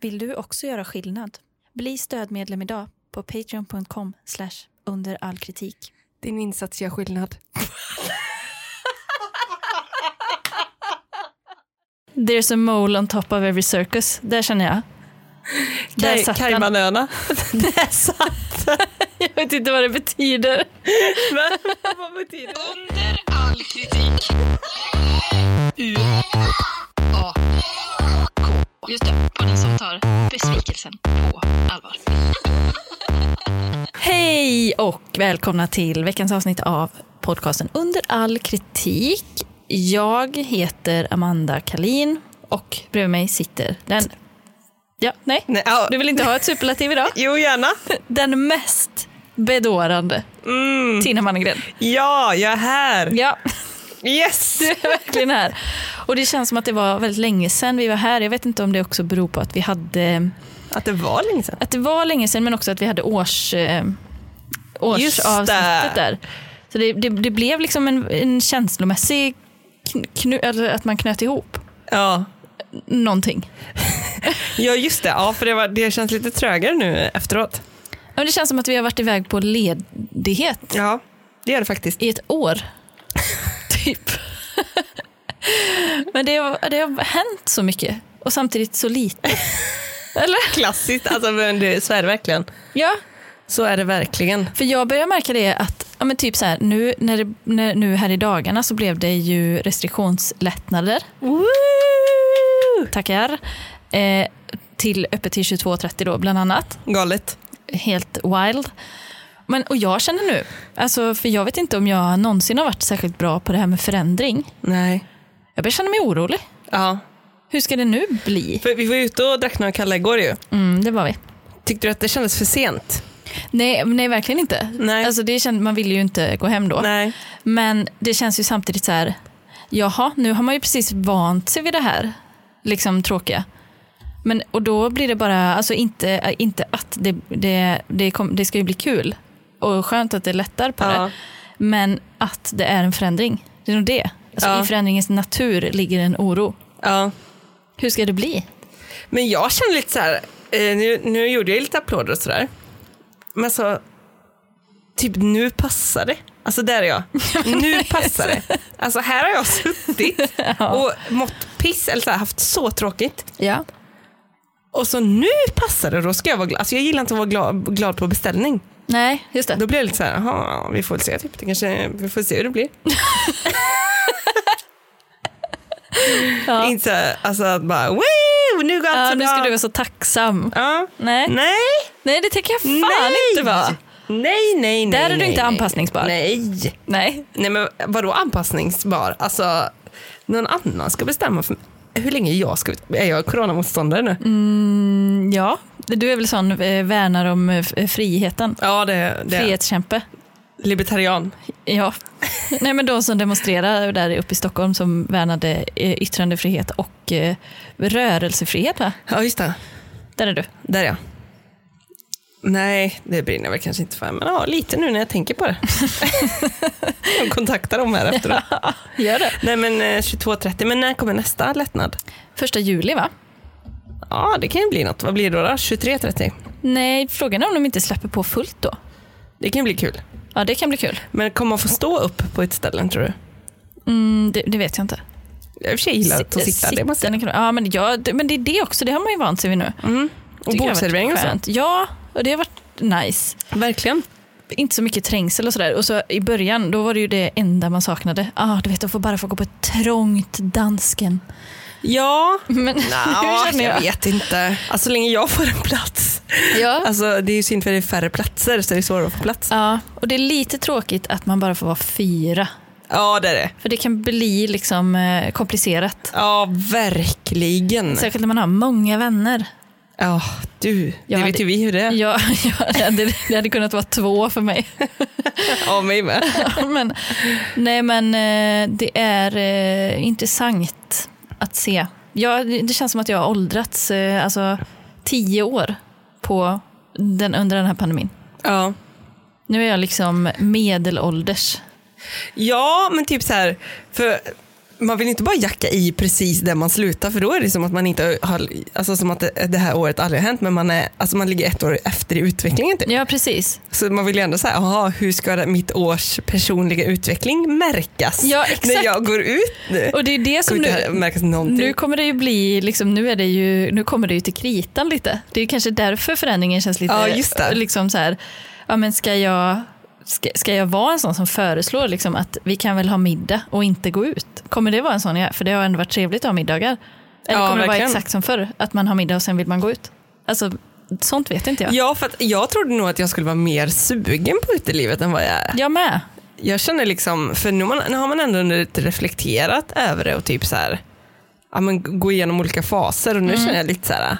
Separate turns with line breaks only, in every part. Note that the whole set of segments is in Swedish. Vill du också göra skillnad? Bli stödmedlem idag på patreon.com under all kritik.
Din insats gör skillnad.
There's a mole on top of every circus. Där känner jag. Där
Kaj-
satt den.
Caymanöarna.
Där satt den. Jag vet inte vad det betyder.
Vad betyder det?
Under all kritik. U A K. Just det, podden som tar besvikelsen på allvar.
Hej och välkomna till veckans avsnitt av podcasten Under all kritik. Jag heter Amanda Kalin och bredvid mig sitter den... Ja, nej.
Nej, ja.
Du vill inte ha ett superlativ idag?
Jo, gärna.
Den mest bedårande Tina Mannegren.
Ja, jag är här.
Mm. Ja,
Yes!
du är verkligen här. Och det känns som att det var väldigt länge sedan vi var här. Jag vet inte om det också beror på att vi hade...
Att det var länge sedan.
Att det var länge sedan men också att vi hade års, eh,
Just det.
årsavsnittet där. Så det, det, det blev liksom en, en känslomässig kn- knu, eller att man knöt ihop
Ja.
någonting.
ja, just det. Ja, för det, var, det känns lite trögare nu efteråt.
Ja, Men det känns som att vi har varit iväg på ledighet
Ja, det gör det faktiskt.
i ett år. typ. men det, har- det har hänt så mycket och samtidigt så lite. eller?
Klassiskt, alltså, men det, så är det verkligen.
Ja,
Så är det verkligen.
För jag börjar märka det att ja, men typ så här, nu, när det, när, nu här i dagarna så blev det ju restriktionslättnader. Tackar. Eh, till öppet till 22.30 då bland annat.
Galet.
Helt wild. Men, och jag känner nu, alltså, för jag vet inte om jag någonsin har varit särskilt bra på det här med förändring.
Nej.
Jag börjar känna mig orolig.
Ja.
Hur ska det nu bli?
För vi var ute och drack några kalla igår ju.
Mm, det var vi.
Tyckte du att det kändes för sent?
Nej, nej verkligen inte.
Nej.
Alltså, det känd, man ville ju inte gå hem då.
Nej.
Men det känns ju samtidigt så här, jaha, nu har man ju precis vant sig vid det här liksom tråkiga. Men, och då blir det bara, alltså inte, inte att det, det, det, kom, det ska ju bli kul och skönt att det lättar på
Ja.
det, men att det är en förändring. Det är nog det. Alltså,
Ja.
I förändringens natur ligger en oro.
Ja.
Hur ska det bli?
Men jag känner lite så här, eh, nu, nu gjorde jag lite applåder och sådär. Men så, typ nu passar det. Alltså där är jag. Nu passar det. Alltså här har jag suttit och mått piss eller så här, haft så tråkigt.
Ja.
Och så nu passar det, då ska jag vara glad. Alltså jag gillar inte att vara glad, glad på beställning.
Nej, just det.
Då blir jag lite så här, jaha, vi får väl se typ. Det kanske, vi får se hur det blir.
Ja.
Inte så här, alltså att bara, wow, nu går allt
Ja,
så
nu
bra.
ska du vara så tacksam.
ja.
Nej, nej.
Nej.
det tänker jag fan inte vara.
Nej, nej, nej.
Där är du
nej,
inte
nej.
anpassningsbar.
Nej.
Nej.
Nej, men vadå anpassningsbar? Alltså, någon annan ska bestämma för mig. Hur länge jag ska... Är jag coronamotståndare nu?
Mm. Ja, du är väl sån eh, värnar om eh, f- friheten.
Ja, det, det är
Frihetskämpe.
Libertarian.
Ja. Nej, men de som demonstrerar där uppe i Stockholm som värnade eh, yttrandefrihet och eh, rörelsefrihet, va?
Ja, just det.
Där är du.
Där ja. Nej, det brinner jag väl kanske inte för. Men ja, lite nu när jag tänker på det. jag kontaktar dem här efteråt.
Gör det.
Nej, men eh, 22.30. Men när kommer nästa lättnad?
Första juli, va?
Ja, det kan ju bli något. Vad blir det då? då? 23.30.
Nej, frågan är om de inte släpper på fullt då.
Det kan ju bli kul.
Ja, det kan bli kul.
Men kommer man få stå upp på ett ställe tror du?
Mm, det, det vet jag inte.
Jag i och för sig gillar att sitta. Det måste,
Sittande kan- ja, men, ja, det, men det är det också, det har man ju vant sig vid nu.
och
Tycker jag har varit
bordservering och sånt.
skönt. Ja, och det har varit nice.
Verkligen.
inte så mycket trängsel och sådär. Och så i början, då var det ju det enda man saknade. Ah, du vet, att få bara få gå på ett trångt dansken.
Ja,
Men hur
jag,
känner jag?
vet inte. Alltså, så länge jag får en plats.
Ja.
Alltså, det är ju synd för det är färre platser så det är svårare att få plats.
ja, och det är lite tråkigt att man bara får vara fyra.
Ja, det är det.
För det kan bli liksom eh, komplicerat.
Ja, verkligen.
Särskilt när man har många vänner.
Ja, du.
Jag
det
hade-
vet ju vi hur det är.
Ja, ja det, hade, det hade kunnat vara två för mig.
Ja, mig med.
men, nej men eh, det är eh, intressant att se. Ja, det det känns som att jag har åldrats eh, alltså, tio år på den, under den här pandemin.
Ja.
Nu är jag liksom medelålders.
ja, men typ så här. För man vill inte bara jacka i precis där man slutar för då är det som att man inte har, alltså som att det det här året aldrig har hänt men man, är, alltså man ligger ett år efter i utvecklingen. Typ.
Ja, precis.
Så man vill ju ändå säga, aha, hur ska det- mitt års personliga utveckling märkas
Ja, exakt.
när jag går ut nu?
Och det är det som
Kommer inte
nu,
märkas någonting.
nu kommer det ju bli, liksom, nu, är det ju, nu kommer det ju till kritan lite. Det är kanske därför förändringen känns lite,
Ja, just det.
liksom så här, ja men ska jag, ska, ska jag vara en sån som föreslår liksom att vi kan väl ha middag och inte gå ut? Kommer det vara en sån jag är? För det har ändå varit trevligt att ha middagar. Eller
Ja,
kommer det vara
verkligen.
exakt som förr, att man har middag och sen vill man gå ut? Alltså, sånt vet inte jag.
Ja, för att jag trodde nog att jag skulle vara mer sugen på utelivet än vad jag är.
Jag med.
Jag känner liksom, för nu, har man, nu har man ändå lite reflekterat över det och typ så här, ja men gå igenom olika faser och nu känner jag lite så här,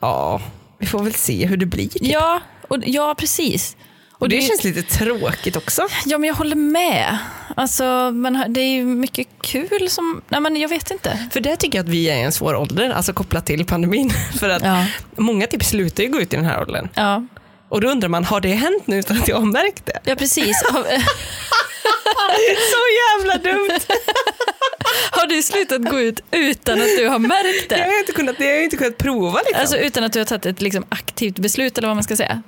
ja, vi får väl se hur det blir. typ.
Ja, och, ja precis.
och det, känns lite tråkigt också.
Ja, men jag håller med. Alltså, man, har- det är ju mycket kul som... Nej, men jag vet inte.
För det tycker jag att vi är i en svår ålder, alltså kopplat till pandemin. För att
Ja.
många typ slutar ju gå ut i den här åldern.
Ja,
Och då undrar man, har det hänt nu utan att jag har märkt det?
ja precis. Har,
Så jävla dumt!
har du slutat gå ut utan att du har märkt
Jag
det?
har inte kunnat, det har jag inte kunnat prova liksom.
Alltså utan att du har tagit ett liksom, aktivt beslut eller vad man ska säga?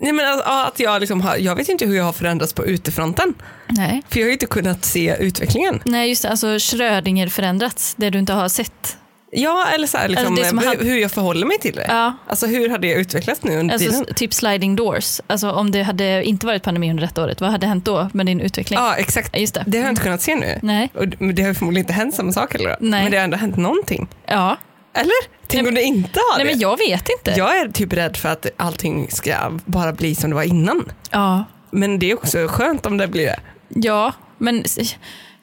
Nej, men alltså, ja, att jag, liksom har, jag vet ju inte hur jag har förändrats på utefronten.
Nej.
För jag har ju inte kunnat se utvecklingen.
Nej, just det. Alltså Schrödinger förändrats, det du inte har sett.
Ja, eller så här, liksom,
Alltså, det som
eh,
hade-
hur jag förhåller mig till det.
Ja.
Alltså hur har det utvecklats nu under
Alltså,
tiden?
s- typ sliding doors. Alltså om det hade inte varit pandemi under detta året, vad hade hänt då med din utveckling?
Ja, exakt.
Ja, Just det.
Det har jag inte kunnat se nu.
Nej.
Och d- men det har ju förmodligen inte hänt samma sak heller. då.
Nej.
Men det har ändå hänt någonting.
Ja.
Eller? Tänk om det inte har
Nej,
det.
men jag vet inte.
jag... är typ rädd för att allting ska bara bli som det var innan.
Ja.
Men det är också skönt om det blir det.
Ja, men,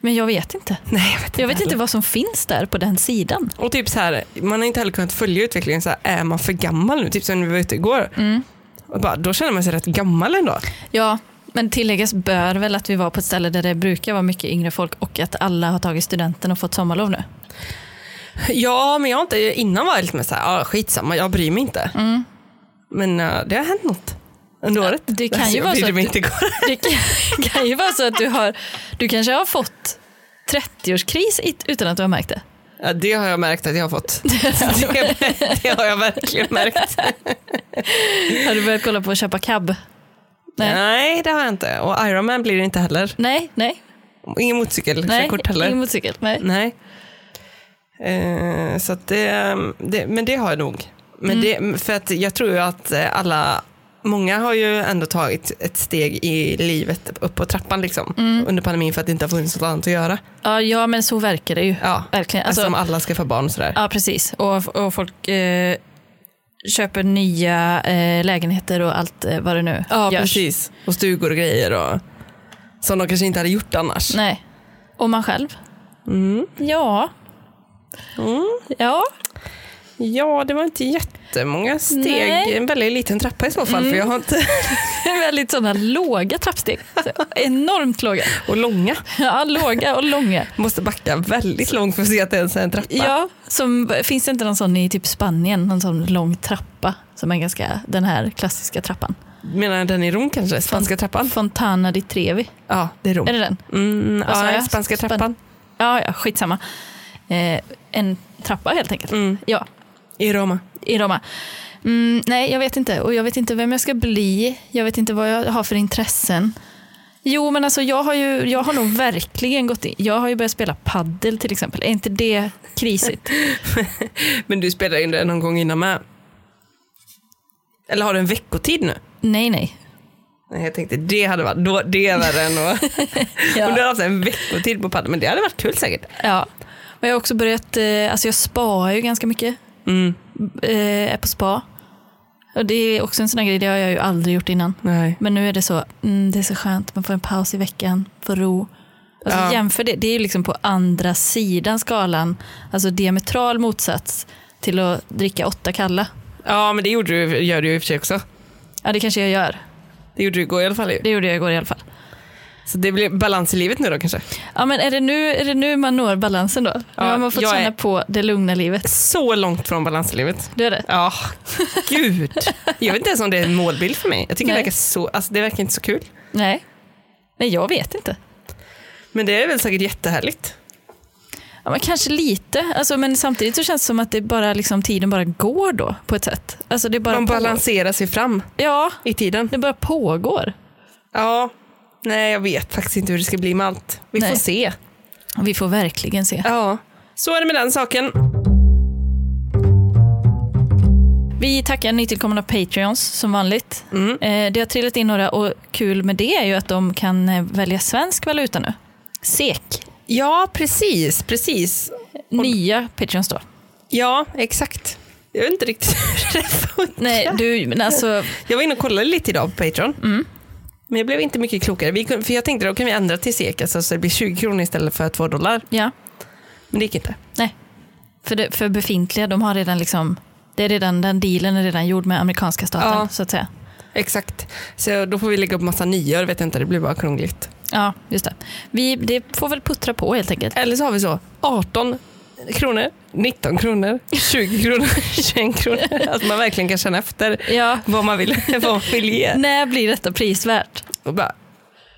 men jag vet inte.
Nej, jag vet inte.
Jag vet
heller.
inte vad som finns där på den sidan.
Och typ så här, man har inte heller kunnat följa utvecklingen. Så här, är man för gammal nu? Typ som när vi var ute igår.
Mm.
Och bara, då känner man sig rätt gammal ändå.
Ja, men tilläggas bör väl att vi var på ett ställe där det brukar vara mycket yngre folk och att alla har tagit studenten och fått sommarlov nu.
Ja, men jag har inte, innan var jag lite mer så här, ah, skitsamma, jag bryr mig inte.
Mm.
Men eh, det har hänt något under året.
det kan ju
jag
vara så
brydde mig
att
inte igår.
Det kan- kan ju vara så att du har, du kanske har fått 30-årskris it- utan att du har märkt det.
Ja, det har jag märkt att jag har fått. det, det har jag verkligen märkt.
Har du börjat kolla på att köpa cab? Nej.
Nej. det har jag inte. Och Ironman blir det inte heller.
Nej, nej,
Ingen motorcykelkörkort
nej.
kort heller.
Ingen motorcykel, nej.
Nej. Eh, så att det, det, men det har jag nog. Men
Mm.
det, för att jag tror ju att eh, alla, många har ju ändå tagit ett steg i livet upp på trappan liksom,
Mm.
under pandemin för att det inte har funnits något annat att göra.
Ja, ja, men så verkar det ju.
Ja.
Verkligen.
Alltså,
Alltså,
om alla ska få barn och sådär.
Ja, precis. Och, och folk eh, köper nya eh, lägenheter och allt eh, vad det nu görs.
precis. Och stugor och grejer och, som de kanske inte hade gjort annars.
Nej. Och man själv?
Mm.
Ja. Ja,
Ja, det var inte jättemånga steg.
Nej. Mm.
En väldigt liten trappa i så fall. För jag har inte,
det är väldigt sådana låga trappsteg. Så, enormt låga.
och långa.
Ja, låga och långa.
Måste backa väldigt långt för att se att det ens är en trappa.
Ja, som, finns det inte någon sån i typ Spanien, någon sån lång trappa som är ganska, den här klassiska trappan?
Menar den i Rom kanske? Spanska trappan?
Fontana di Trevi,
Ja, det är Rom.
är det den?
Mm,
Vad sa
ja,
jag?
Spanska
Span-
trappan.
Ja, ja, skitsamma. Eh, en trappa helt enkelt.
Mm.
Ja,
I Roma.
i Roma. Mm, nej, jag vet inte. Och jag vet inte vem jag ska bli. Jag vet inte vad jag har för intressen. Jo, men alltså jag har ju, jag har nog verkligen gått in. Jag har ju börjat spela paddel till exempel. Är inte det krisigt?
Men du spelade in det någon gång innan med. Eller har du en veckotid nu?
Nej, nej.
Nej, jag tänkte det hade varit, då, det är värre än att... Om du hade haft en veckotid på padel, men det hade varit kul säkert.
Ja. Och jag har också börjat, eh, alltså jag spaar ju ganska mycket. Mm. Eh, är på spa. Och det är också en sån här grej, det har jag ju aldrig gjort innan.
Nej.
Men nu är det så, mm, det är så skönt, man får en paus i veckan, får ro. Alltså,
Ja.
Jämför det, det är ju liksom på andra sidan skalan, alltså diametral motsats till att dricka åtta kalla.
Ja, men det gjorde du, gör du ju i och för sig också.
Ja, det kanske jag gör.
Det gjorde du igår i alla fall. ju.
Det gjorde jag igår i alla fall.
Så det blir balans i livet nu då kanske.
Ja, men är det nu, är det nu man når balansen då? nu
Ja,
har man fått
jag
känna
är-
på det lugna livet.
Så långt från balans i livet.
Det är det.
Ja, gud. Jag vet inte ens om det är en målbild för mig. Jag tycker
Nej.
det verkar så, alltså det verkar inte så kul.
Nej. Nej, jag vet inte.
Men det är väl säkert jättehärligt.
Ja, men kanske lite, alltså, men samtidigt så känns det som att det bara, liksom, tiden bara går då på ett sätt. Alltså, det bara
Man
på-
balanserar sig fram
Ja,
i tiden.
det bara pågår.
Ja. Nej, jag vet faktiskt inte hur det ska bli med allt. Vi
Nej.
får se.
Vi får verkligen se.
Ja. Så är det med den saken.
Vi tackar nytillkomna Patreons som vanligt. Eh, Det har trillat in några och kul med det är ju att de kan eh, välja svensk valuta nu. SEK,
Ja, precis, precis.
nya Patreons då.
Ja, exakt. Jag vet inte riktigt hur det funkar.
Nej, du, men alltså,
Jag var inne och kollade lite idag på Patreon. Men jag blev inte mycket klokare. Vi, kun- för jag tänkte då kan vi ändra till SEK, alltså, så det blir 20 kronor istället för 2 dollar.
ja,
Men det gick inte.
nej. För, det, för befintliga, de har redan liksom, det är redan, den dealen är redan gjord med amerikanska staten
Ja.
så att säga.
Exakt. Så då får vi lägga upp massa nior, vet jag inte, det blir bara krångligt.
Ja, just det. Vi, det får väl puttra på helt enkelt.
Eller så har vi så 18 kronor, 19 kronor, 20 kronor, 21 kronor. Att man verkligen kan känna efter
Ja,
vad man vill, vad man vill ge.
när blir detta prisvärt?
Och bara,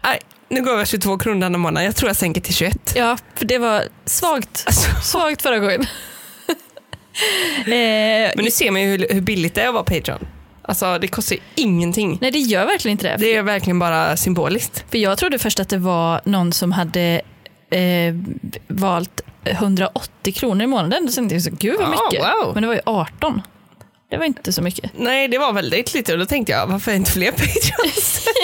nej, nu går jag 22 kronor denna månad, jag tror jag sänker till Alltså, 21.
Ja, för det var svagt. Svagt förra gången. eh,
Men nu ser man ju hur, hur billigt det är att vara Patreon. Alltså det kostar ju ingenting.
nej, det gör verkligen inte det.
Det är verkligen bara symboliskt.
För jag trodde först att det var någon som hade eh, valt 180 kronor i månaden. Då tänkte jag så, gud vad
Ja,
mycket.
wow.
Men det var ju 18. Det var inte så mycket.
Nej, det var väldigt lite och då tänkte jag, varför är inte fler Patreons?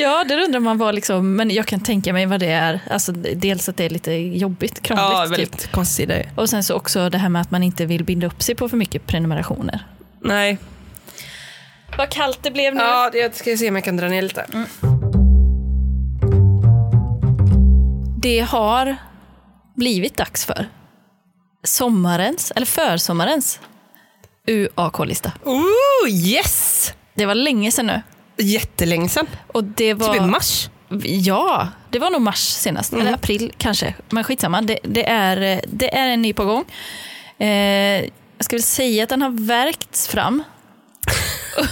Ja, det undrar man vad liksom, men jag kan tänka mig vad det är. Alltså, dels att det är lite jobbigt, krångligt.
ja,
typ.
väldigt konstigt. Det.
Och sen så också det här med att man inte vill binda upp sig på för mycket prenumerationer.
Nej.
Vad kallt det blev nu.
Ja, det- jag ska se om jag kan dra ner lite.
Det har blivit dags för sommarens, eller försommarens, UAK-lista.
Ooh, yes!
Det var länge sedan nu.
Jättelänge sedan.
Och det var,
Typ i mars. Mm.
Ja, det var nog mars senast, eller april kanske. Men skitsamma, det, det, är, eh, det är en ny på gång. Eh, jag ska väl säga att den har värkts fram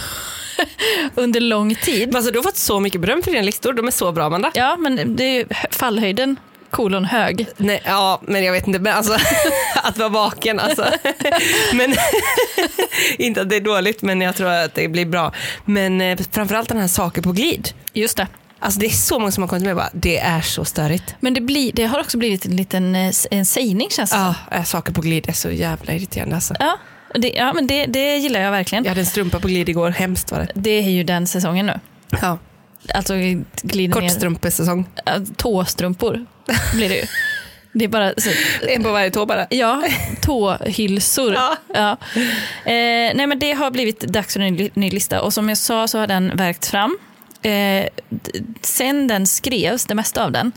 under lång tid.
Alltså, du har fått så mycket beröm för dina listor. De är så bra, Amanda.
Ja, men det är ju hö- fallhöjden kolon hög.
Nej, ja, men jag vet inte. Men alltså, att vara vaken alltså. men, inte att det är dåligt, men jag tror att det blir bra. Men eh, framförallt den här saker på glid.
Just det.
Alltså det är så många som har kommit med och bara, det är så störigt.
Men det, blir, det har också blivit en liten eh, s- en sägning känns det som.
Ja, eh, saker på glid är så jävla irriterande alltså.
Ja, det, ja men det, det gillar jag verkligen.
Jag hade en strumpa på glid igår, hemskt var det.
Det är ju den säsongen nu.
Ja.
Alltså glider ner.
Kortstrumpesäsong.
Ja, Äh, Tåstrumpor blir det ju. Det är bara så,
En på varje tå bara.
ja, tåhylsor.
Ja.
Ja. Eh, nej men det har blivit dags för en ny- ny lista och som jag sa så har den värkt fram. Eh, d- sen den skrevs, det mesta av den,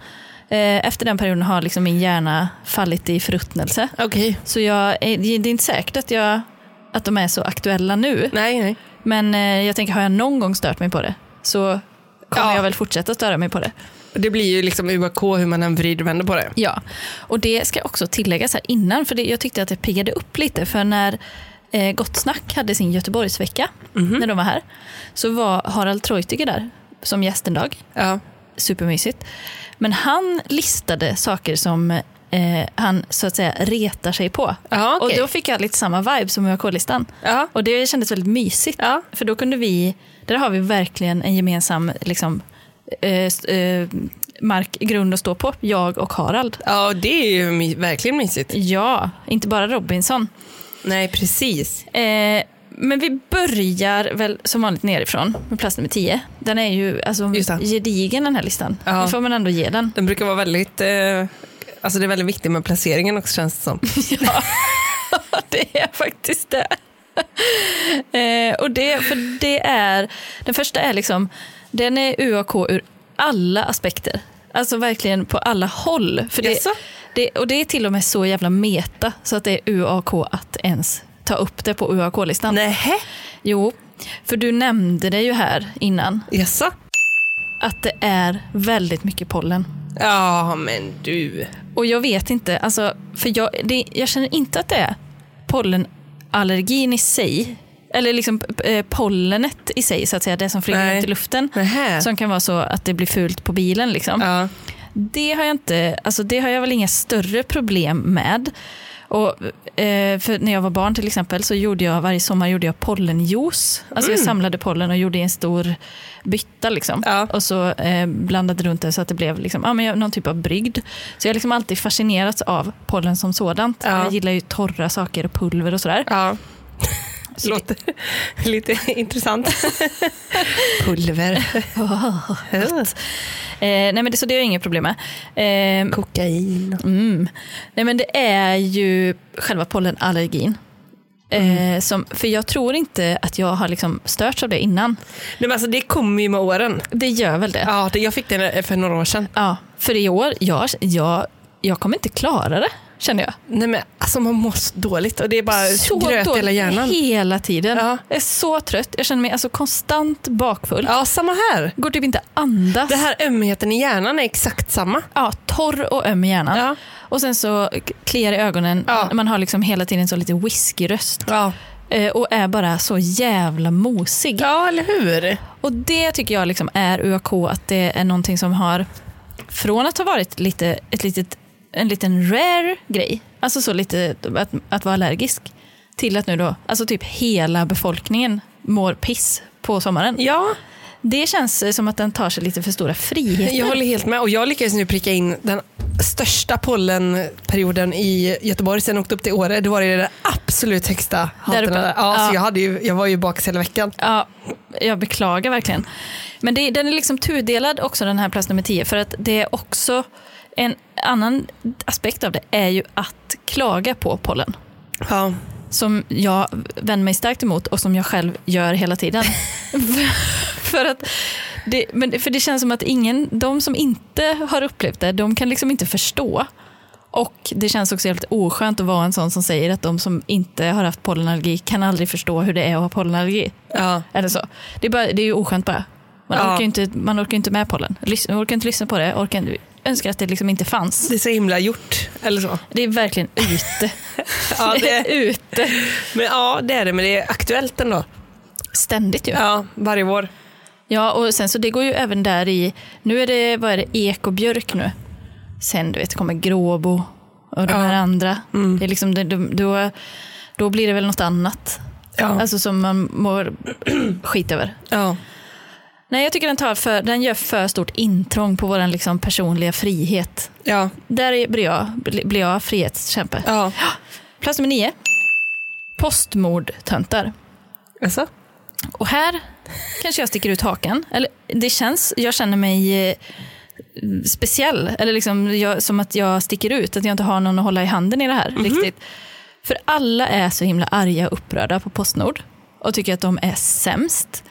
eh, efter den perioden har liksom min hjärna fallit i förruttnelse.
Okej.
Så jag, eh, det är inte säkert att, jag, att de är så aktuella nu.
Nej, nej.
Men eh, jag tänker, har jag någon gång stört mig på det så kommer
Ja.
jag väl fortsätta störa mig på det.
Det blir ju liksom UAK hur man än vrider och vänder på det.
Ja, och det ska jag också tilläggas här innan, för det, jag tyckte att det piggade upp lite, för när eh, Gott Snack hade sin Göteborgsvecka,
Mhm.
när de var här, så var Harald Treutiger där som gästendag.
Ja.
Supermysigt. Men han listade saker som eh, han så att säga retar sig på.
Ja, okej.
Och då fick jag lite samma vibe som UAK-listan.
Ja.
Och det kändes väldigt mysigt.
Ja.
För då kunde vi, där har vi verkligen en gemensam liksom, eh, s- eh, mark, grund att stå på, jag och Harald.
Ja, det är ju my- verkligen mysigt.
Ja, inte bara Robinson.
Nej, precis.
Eh, men vi börjar väl som vanligt nerifrån med plats nummer 10. Den är ju alltså,
Just det.
gedigen den här listan.
Ja.
Det får man ändå ge den.
Den brukar vara väldigt... Eh, alltså det är väldigt viktigt med placeringen också känns det som.
det är faktiskt det. eh, och det, för det är, den första är liksom, den är UAK ur alla aspekter. Alltså verkligen på alla håll. För det,
Jaså?
det, och det är till och med så jävla meta så att det är UAK att ens ta upp det på UAK-listan.
Nähä?
Jo, för du nämnde det ju här innan,
Jaså?
att det är väldigt mycket pollen.
Ja, men du.
Och jag vet inte, alltså, för jag, det, jag känner inte att det är pollenallergin i sig, eller liksom eh, pollenet i sig, så att säga, det som flyger
Nej.
ut i luften,
Nähä?
som kan vara så att det blir fult på bilen. Liksom.
Ja.
Det har jag, inte, alltså det har jag väl inga större problem med. Och, eh, för när jag var barn till exempel så gjorde jag varje sommar gjorde jag pollenjuice. Alltså
Mm.
Jag samlade pollen och gjorde i en stor bytta liksom.
Ja.
och så eh, blandade runt det så att det blev liksom, ja, men jag- någon typ av brygd. Så jag har liksom alltid fascinerats av pollen som sådant.
Ja.
Jag gillar ju torra saker och pulver och sådär.
Ja. Låter lite intressant. Pulver.
Eh, nej men det, så det har jag inga problem med. Eh,
Kokain.
Mm. Nej men det är ju själva pollenallergin. Eh, som, för jag tror inte att jag har liksom störts av det innan.
Nej, men alltså, det kommer ju med åren.
Det gör väl det. Ja,
Ja, det, jag fick den för några år sedan.
för i år, jag, jag, jag kommer inte klara det känner jag.
Nej, men, alltså, man mår så dåligt och det är bara gröt i hela
dåligt
hjärnan.
Hela tiden.
Ja.
Jag är så trött. Jag känner mig alltså konstant bakfull.
Ja, samma här.
Går typ inte att andas.
Det här ömheten i hjärnan är exakt samma.
Ja, torr och öm i hjärnan.
Ja.
Och sen så kliar i ögonen.
Ja.
Man har liksom hela tiden så lite whiskyröst.
Ja,
Eh, och är bara så jävla mosig.
ja eller hur?
Och det tycker jag liksom är UAK, att det är någonting som har, från att ha varit lite, ett litet, en liten rare grej, alltså så lite att, att vara allergisk, till att nu då, alltså typ hela befolkningen mår piss på sommaren.
Ja,
Det känns eh, som att den tar sig lite för stora friheter.
jag håller helt med. Och jag lyckades nu pricka in den största pollenperioden i Göteborg sen jag åkte upp till Åre. Det var ju den absolut högsta halterna.
uppe?
där. Ja,
Ja.
Så jag, hade ju, jag var ju bakis hela veckan.
Ja, jag beklagar verkligen. Men det, den är liksom tudelad också den här plats nummer 10 för att det är också en annan aspekt av det är ju att klaga på pollen.
Ja.
som jag vänder mig starkt emot och som jag själv gör hela tiden. för, att det, men, för det känns som att ingen, de som inte har upplevt det, de kan liksom inte förstå. Och det känns också helt oskönt att vara en sån som säger att de som inte har haft pollenallergi kan aldrig förstå hur det är att ha pollenallergi.
Ja.
Eller så. Det, är bara, det är ju oskönt bara. Man,
Ja.
orkar ju inte, man orkar ju inte med pollen. Lys- Man orkar inte lyssna på det. Orkar, önskar att det liksom inte fanns.
Det är så himla gjort. Eller så.
Det är verkligen ute.
Ja,
det är
det,
ute.
men, ja, det är det, men det är aktuellt ändå.
Ständigt ju.
Ja, varje vår.
Ja, och sen så det går ju även där i, nu är det, vad är det, ek och björk nu. Sen du vet kommer gråbo och de
Ja. Mm.
här andra. Det är liksom, det, det- då, då blir det väl något annat.
Ja.
Alltså som man mår skit över.
ja.
Nej, jag tycker den, tar för, den gör för stort intrång på vår liksom personliga frihet.
Ja.
Där är- blir jag, blir jag frihetskämpe.
ja.
Plats nummer nio. Postmordtöntar.
Alltså?
Och här kanske jag sticker ut hakan. Eller, det känns, jag känner mig eh, speciell, eller liksom jag, som att jag sticker ut, att jag inte har någon att hålla i handen i det här. riktigt. För alla är så himla arga och upprörda på Postnord och tycker att de är sämst.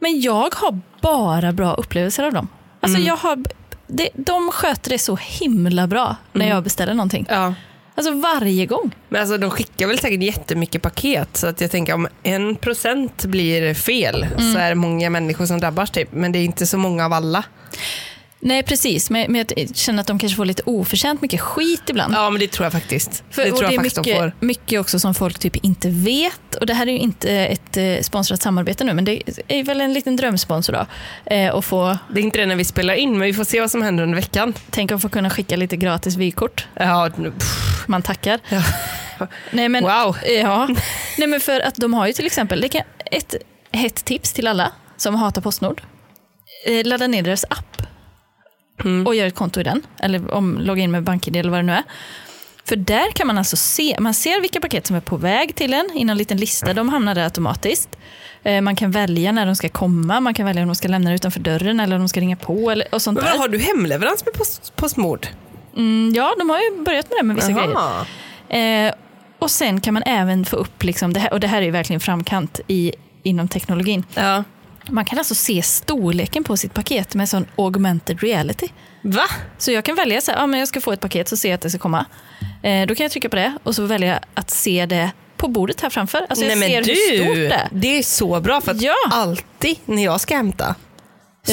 Men jag har bara bra upplevelser av dem. Alltså jag har, det, de sköter det så himla bra när jag beställer någonting.
Ja.
Alltså varje gång.
Men alltså de skickar väl säkert jättemycket paket så att jag tänker om en procent blir fel så är det många människor som drabbas typ. Men det är inte så många av alla.
Nej precis, men, men jag känner att de kanske får lite oförtjänt mycket skit ibland.
Ja men det tror jag faktiskt.
För,
det
och
tror
det
jag
är
faktiskt de får.
mycket, mycket också som folk typ inte vet. Och det här är ju inte ett eh, sponsrat samarbete nu, men det är väl en liten drömsponsor då. Eh, att få,
Det är inte det när vi spelar in men vi får se vad som händer under veckan.
tänk att få kunna skicka lite gratis vykort.
Ja, nu- pff,
Man tackar.
Ja.
Nej, men,
wow.
ja. Nej men för att de har ju till exempel, det kan, ett hett tips till alla som hatar Postnord. Eh, ladda ner deras app
Mm.
och gör ett konto i den. Eller om, logga in med BankID eller vad det nu är. För där kan man alltså se, man ser vilka paket som är på väg till en i någon liten lista, de hamnar där automatiskt. Eh, Man kan välja när de ska komma, man kan välja om de ska lämna det utanför dörren eller om de ska ringa på eller, och sånt
Men
där.
vad, har du hemleverans med post, Postnord?
Mm, ja, de har ju börjat med det med vissa grejer.
Jaha.
Eh, och sen kan man även få upp, liksom det här, och det här är ju verkligen framkant i, inom teknologin.
Ja.
Man kan alltså se storleken på sitt paket med sån augmented reality.
Va?
Så jag kan välja så här, ah, men jag ska få ett paket så ser jag att det ska komma. Eh, då kan jag trycka på det och så välja jag att se det på bordet här framför. Alltså jag ser hur stort det är.
det är så bra för att
Ja.
alltid när jag ska hämta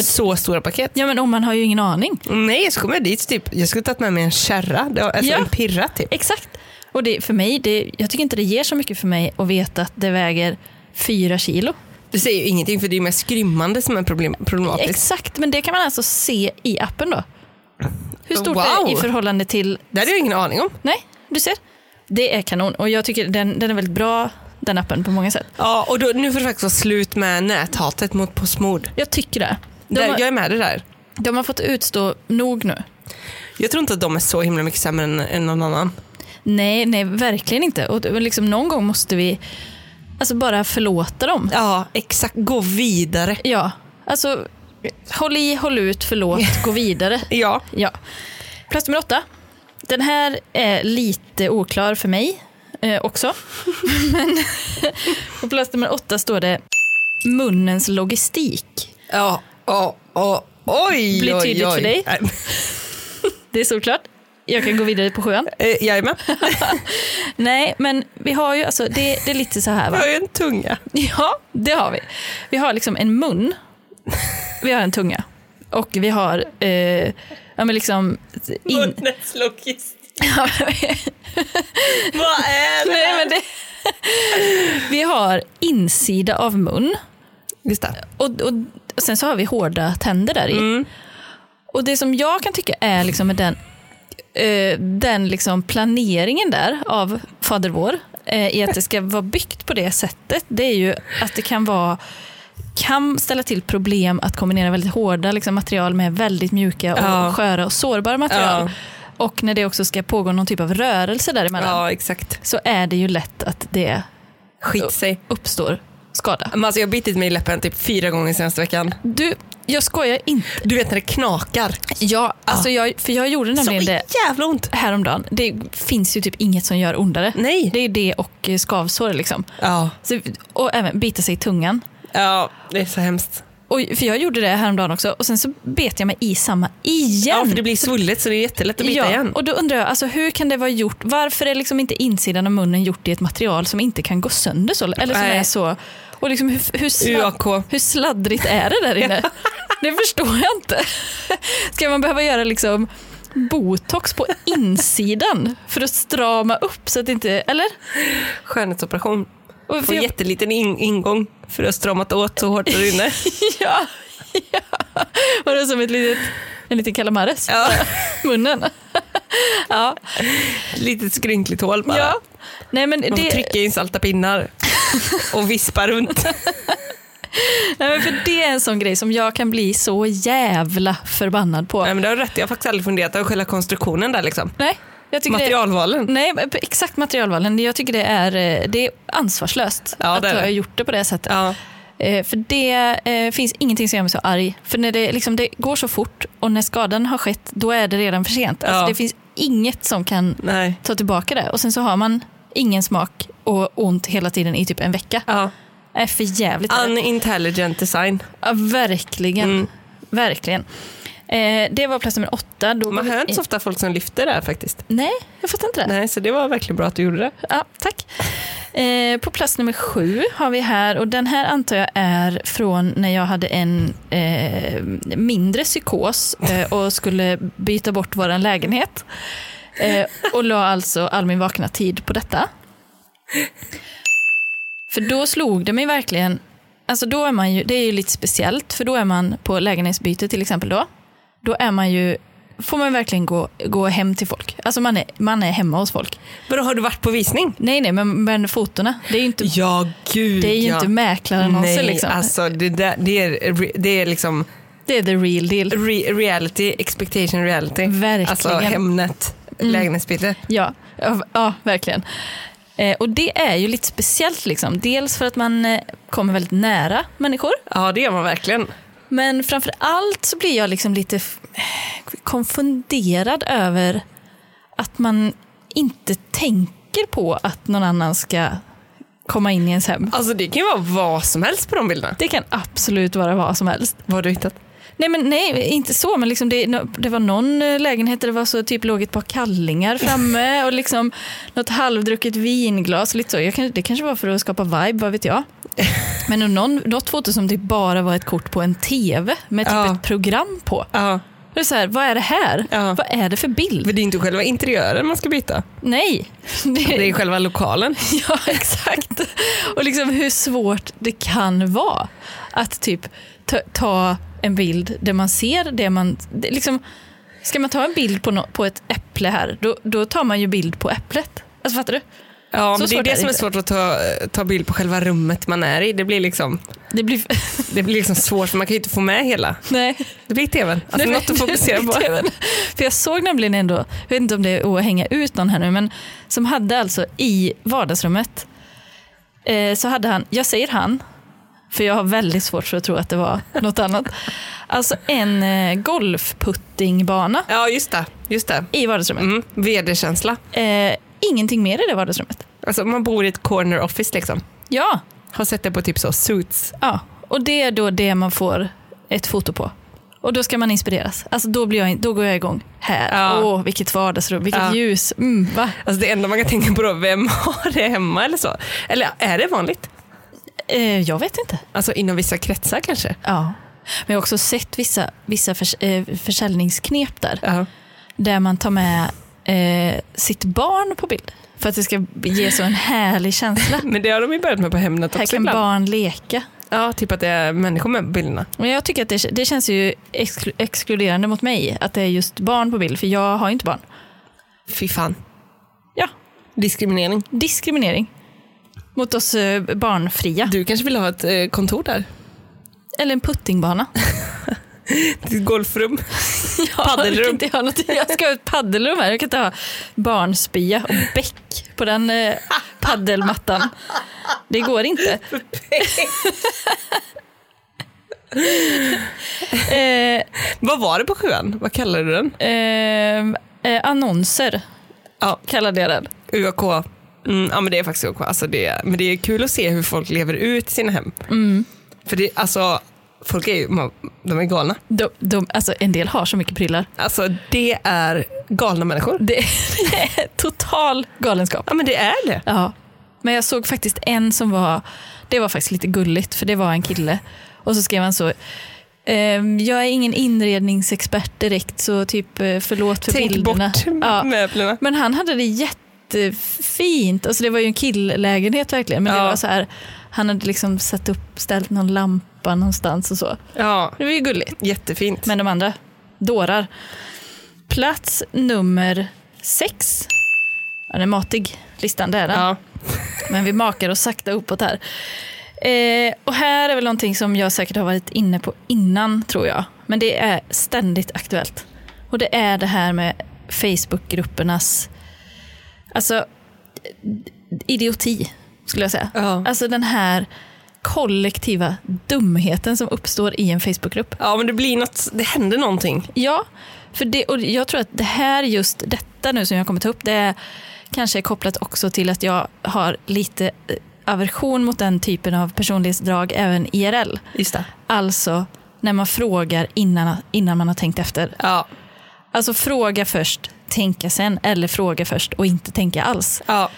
så stora paket.
Ja men och man har ju ingen aning.
Nej, så kommer jag dit typ. Jag skulle tagit med mig en kärra, Det var- alltså
Ja.
en pirra typ.
Exakt. Och det, för mig, det, jag tycker inte det ger så mycket för mig att veta att det väger fyra kilo.
Det säger ju ingenting för det är ju mest skrymmande som är problem, problematiskt.
Exakt, men det kan man alltså se i appen då. hur stort det är
Wow.
i förhållande till...
Det hade jag ingen aning om.
Nej, du ser. Det är kanon och jag tycker den, den är väldigt bra, den appen, på många sätt.
Ja, och då, nu får det faktiskt vara slut med näthatet mot Postnord.
Jag tycker det. De
Där,
har,
Jag är med dig där.
de har fått utstå nog nu.
Jag tror inte att de är så himla mycket sämre än, än någon annan.
Nej, nej, verkligen inte. Och det- liksom, någon gång måste vi alltså, bara förlåta dem.
Ja, exakt. Gå vidare.
Ja, alltså håll i, håll ut, förlåt, gå vidare.
Ja.
Ja. Plats nummer åtta. Den här är lite oklar för mig eh, också. Men på plats nummer åtta står det munnens logistik.
Ja, ja, ja. Oj,
Blir
oj,
tydligt
oj.
för dig?
Nej,
Det är såklart. Jag kan gå vidare på sjuan.
eh, Jajamän,
Nej, men vi har ju, alltså, det, det är lite så här va?
jag har ju en tunga.
Ja, det har vi. Vi har liksom en mun, vi har en tunga och vi har eh, ja, men liksom in,
Munnens logistik.
Ja,
Vad är det?
Nej, men det, vi har insida av mun
Just det.
och, och, och sen så har vi hårda tänder där i.
Mm.
Och det som jag kan tycka är liksom med den, eh, den liksom planeringen där av Fader vår, eh, i att det ska vara byggt på det sättet, det är ju att det kan vara kan ställa till problem att kombinera väldigt hårda liksom, material med väldigt mjuka och
Ja.
sköra och sårbara material.
Ja.
Och när det också ska pågå någon typ av rörelse däremellan
Ja, exakt.
så är det ju lätt att det
Skit sig.
uppstår skada.
Men alltså, jag har bitit mig i läppen typ fyra gånger senaste veckan.
Du, jag skojar inte.
Du vet när det knakar.
Ja, alltså jag, för jag gjorde
Ah. Så
nämligen det
jävla ont.
häromdagen. Det finns ju typ inget som gör ondare.
Nej.
Det är det och eh, skavsår liksom.
Ja.
Så, och även bita sig i tungan.
ja, det är så hemskt.
Och, för jag gjorde det häromdagen också och sen så bet jag mig i samma igen.
Ja, för det blir svullet så det är jättelätt att bita
Ja,
igen.
och då undrar jag, alltså, hur kan det vara gjort? Varför är liksom inte insidan av munnen gjort i ett material som inte kan gå sönder så? Eller som
Nej.
är så... Och liksom, hur, hur, sladd,
UAK.
hur sladdrigt är det där inne? det förstår jag inte. Ska man behöva göra liksom botox på insidan för att strama upp så att det inte... Eller?
Skönhetsoperation.
Och
Få
för jag-
jätteliten in- ingång för att ha stramat åt så hårt där inne.
ja, ja. Var det som ett litet, en liten kalamares?
Ja.
Munnen? ja.
Litet skrynkligt hål bara.
ja. Nej, men
Man får
det,
trycka in salta pinnar och vispa runt.
Nej, men för det är en sån grej som jag kan bli så jävla förbannad på.
Nej men det har du rätt i. jag har faktiskt aldrig funderat över själva konstruktionen där liksom.
Nej, jag tycker Det,
Materialvalen.
nej, men exakt materialvalen. Jag tycker det är, eh, det är ansvarslöst
Ja,
att
det är
jag
det.
har gjort det på det sättet.
Ja.
Eh, För det eh, finns ingenting som gör mig så arg. För när det, liksom, det går så fort och när skadan har skett, då är det redan för sent. Alltså,
Ja.
Det finns inget som kan
Nej.
ta tillbaka det. Och sen så har man ingen smak och ont hela tiden i typ en vecka.
Ja.
Det är för jävligt.
Unintelligent design.
Ja, verkligen.
Mm.
Verkligen. Eh, det var plats nummer åtta. Då går
Man
vi
hör inte
in-
så ofta folk som lyfter det här faktiskt.
Nej, jag fattar inte det.
Nej, så det var verkligen bra att du gjorde det.
Ja, tack. Eh, på plats nummer sju har vi här, och den här antar jag är från när jag hade en eh, mindre psykos eh, och skulle byta bort vår lägenhet. Eh, och la alltså all min vakna tid på detta. För då slog det mig verkligen, alltså då är man ju, det är ju lite speciellt, för då är man på lägenhetsbyte till exempel då. Då är man ju, får man verkligen gå, gå hem till folk. Alltså man är, man är hemma hos folk.
Vadå, har du varit på visning?
Nej, nej, men, men fotona. Det är ju inte,
Ja, gud
det är ju
ja.
inte mäklarannonser.
Nej,
liksom.
alltså det, där, det, är, re- det är liksom
Det är the real deal.
re, reality, expectation reality.
Verkligen.
Alltså Hemnet, lägenhetsbilder.
Ja, ja, ja verkligen. Eh, och det är ju lite speciellt. Liksom. Dels för att man eh, kommer väldigt nära människor.
Ja, det gör man verkligen.
Men framför allt så blir jag liksom lite f- konfunderad över att man inte tänker på att någon annan ska komma in i ens hem.
Alltså det kan ju vara vad som helst på de bilderna.
Det kan absolut vara vad som helst.
Vad har du hittat?
Nej, men nej, inte så, men liksom det, det var någon eh, lägenhet där det var så typ låg ett par kallingar framme och liksom något halvdrucket vinglas. och Lite så. Jag kan, det kanske var för att skapa vibe, vad vet jag. Men någon, något foto som typ bara var ett kort på en tv med typ
Ja.
ett program på.
Ja,
Det är så här, vad är det här?
Ja.
Vad är det för bild?
för det är inte själva interiören man ska byta.
Nej.
Det är själva lokalen.
Ja, exakt. Och liksom hur svårt det kan vara att typ ta, ta en bild där man ser det man... Det, liksom, Ska man ta en bild på, nå- på ett äpple här, då, då tar man ju bild på äpplet. Alltså fattar du?
Ja,
Så
men det
svårt är
är det
det
som är
inte.
svårt att ta, ta bild på själva rummet man är i. Det blir liksom,
Det blir...
det blir liksom svårt för man kan ju inte få med hela.
Nej.
Det blir tvn. Alltså
Nej,
något att fokusera på.
TV. För jag såg nämligen ändå, jag vet inte om det är att hänga ut någon här nu, men som hade alltså i vardagsrummet, eh, så hade han, jag säger han, för jag har väldigt svårt för att tro att det var något annat, alltså en eh, golfputtingbana
Ja, just det. Just det.
i vardagsrummet.
Mm. Vd-känsla.
Eh, ingenting mer i det vardagsrummet.
Alltså man bor i ett corner office liksom.
Ja,
Har sett det på typ så suits.
ja, och det är då det man får ett foto på. Och då ska man inspireras. Alltså då, blir jag, in- då går jag igång. Här,
Ja.
åh vilket vardagsrum, vilket
Ja.
ljus. Mm, va?
Alltså det enda man kan tänka på då, vem har det hemma eller så? Eller är det vanligt?
Eh, jag vet inte.
Alltså inom vissa kretsar kanske?
Ja. Men jag har också sett vissa, vissa förs eh, försäljningsknep där.
Ja.
Där man tar med eh, sitt barn på bild. För att det ska ge så en härlig känsla.
Men det har de ju börjat med på Hemnet
Här
också
kan
ibland.
barn leka.
Ja, typ att det är människor med på bilderna.
Men jag tycker att det, det känns ju exklu exkluderande mot mig att det är just barn på bild. För jag har ju inte barn.
Fy fan.
Ja,
Diskriminering.
diskriminering. Mot oss eh, barnfria.
Du kanske vill ha ett eh, kontor där?
Eller en puttingbana.
Ett golfrum?
Jag, kan
Paddelrum?
inte ha något, jag ska ha ett paddelrum här. Jag kan inte ha barnspya och bäck på den eh, paddelmattan. Det går inte. eh,
Vad var det på sjuan? Vad kallade du den?
ehm, eh, annonser
Ja.
kallade jag den.
UAK. Mm, ja men det är faktiskt OK. Alltså det, men det är kul att se hur folk lever ut sina hem. För det, alltså, folk är ju man- de är galna.
De, de, alltså en del har så mycket prylar.
Alltså det är galna människor.
Det, det är total galenskap.
Ja men det är det.
Ja. Men jag såg faktiskt en som var, det var faktiskt lite gulligt för det var en kille. Och så skrev han så, ehm, jag är ingen inredningsexpert direkt så typ eh, förlåt för
Tänk
bilderna.
bort
Ja.
möblerna.
Men han hade det jättefint, alltså det var ju en killlägenhet verkligen. Men
Ja.
det var så här, han hade liksom satt upp, ställt någon lampa någonstans och så.
Ja,
Det var ju gulligt.
jättefint.
Men de andra, dårar. Plats nummer sex. Ja, Den är matig, listan, det är den.
Ja.
Men vi makar oss sakta uppåt här. Eh, och här är väl någonting som jag säkert har varit inne på innan tror jag. Men det är ständigt aktuellt. Och det är det här med Facebookgruppernas alltså, eh, idioti skulle jag säga.
Ja.
Alltså den här kollektiva dumheten som uppstår i en Facebookgrupp.
ja men det blir något, det händer någonting.
Ja, för det, och jag tror att det här just detta nu som jag kommer ta upp, det är kanske är kopplat också till att jag har lite eh, aversion mot den typen av personlighetsdrag även IRL.
Just det.
Alltså när man frågar innan, innan man har tänkt efter.
Ja.
Alltså fråga först, tänka sen, eller fråga först och inte tänka alls.
Ja.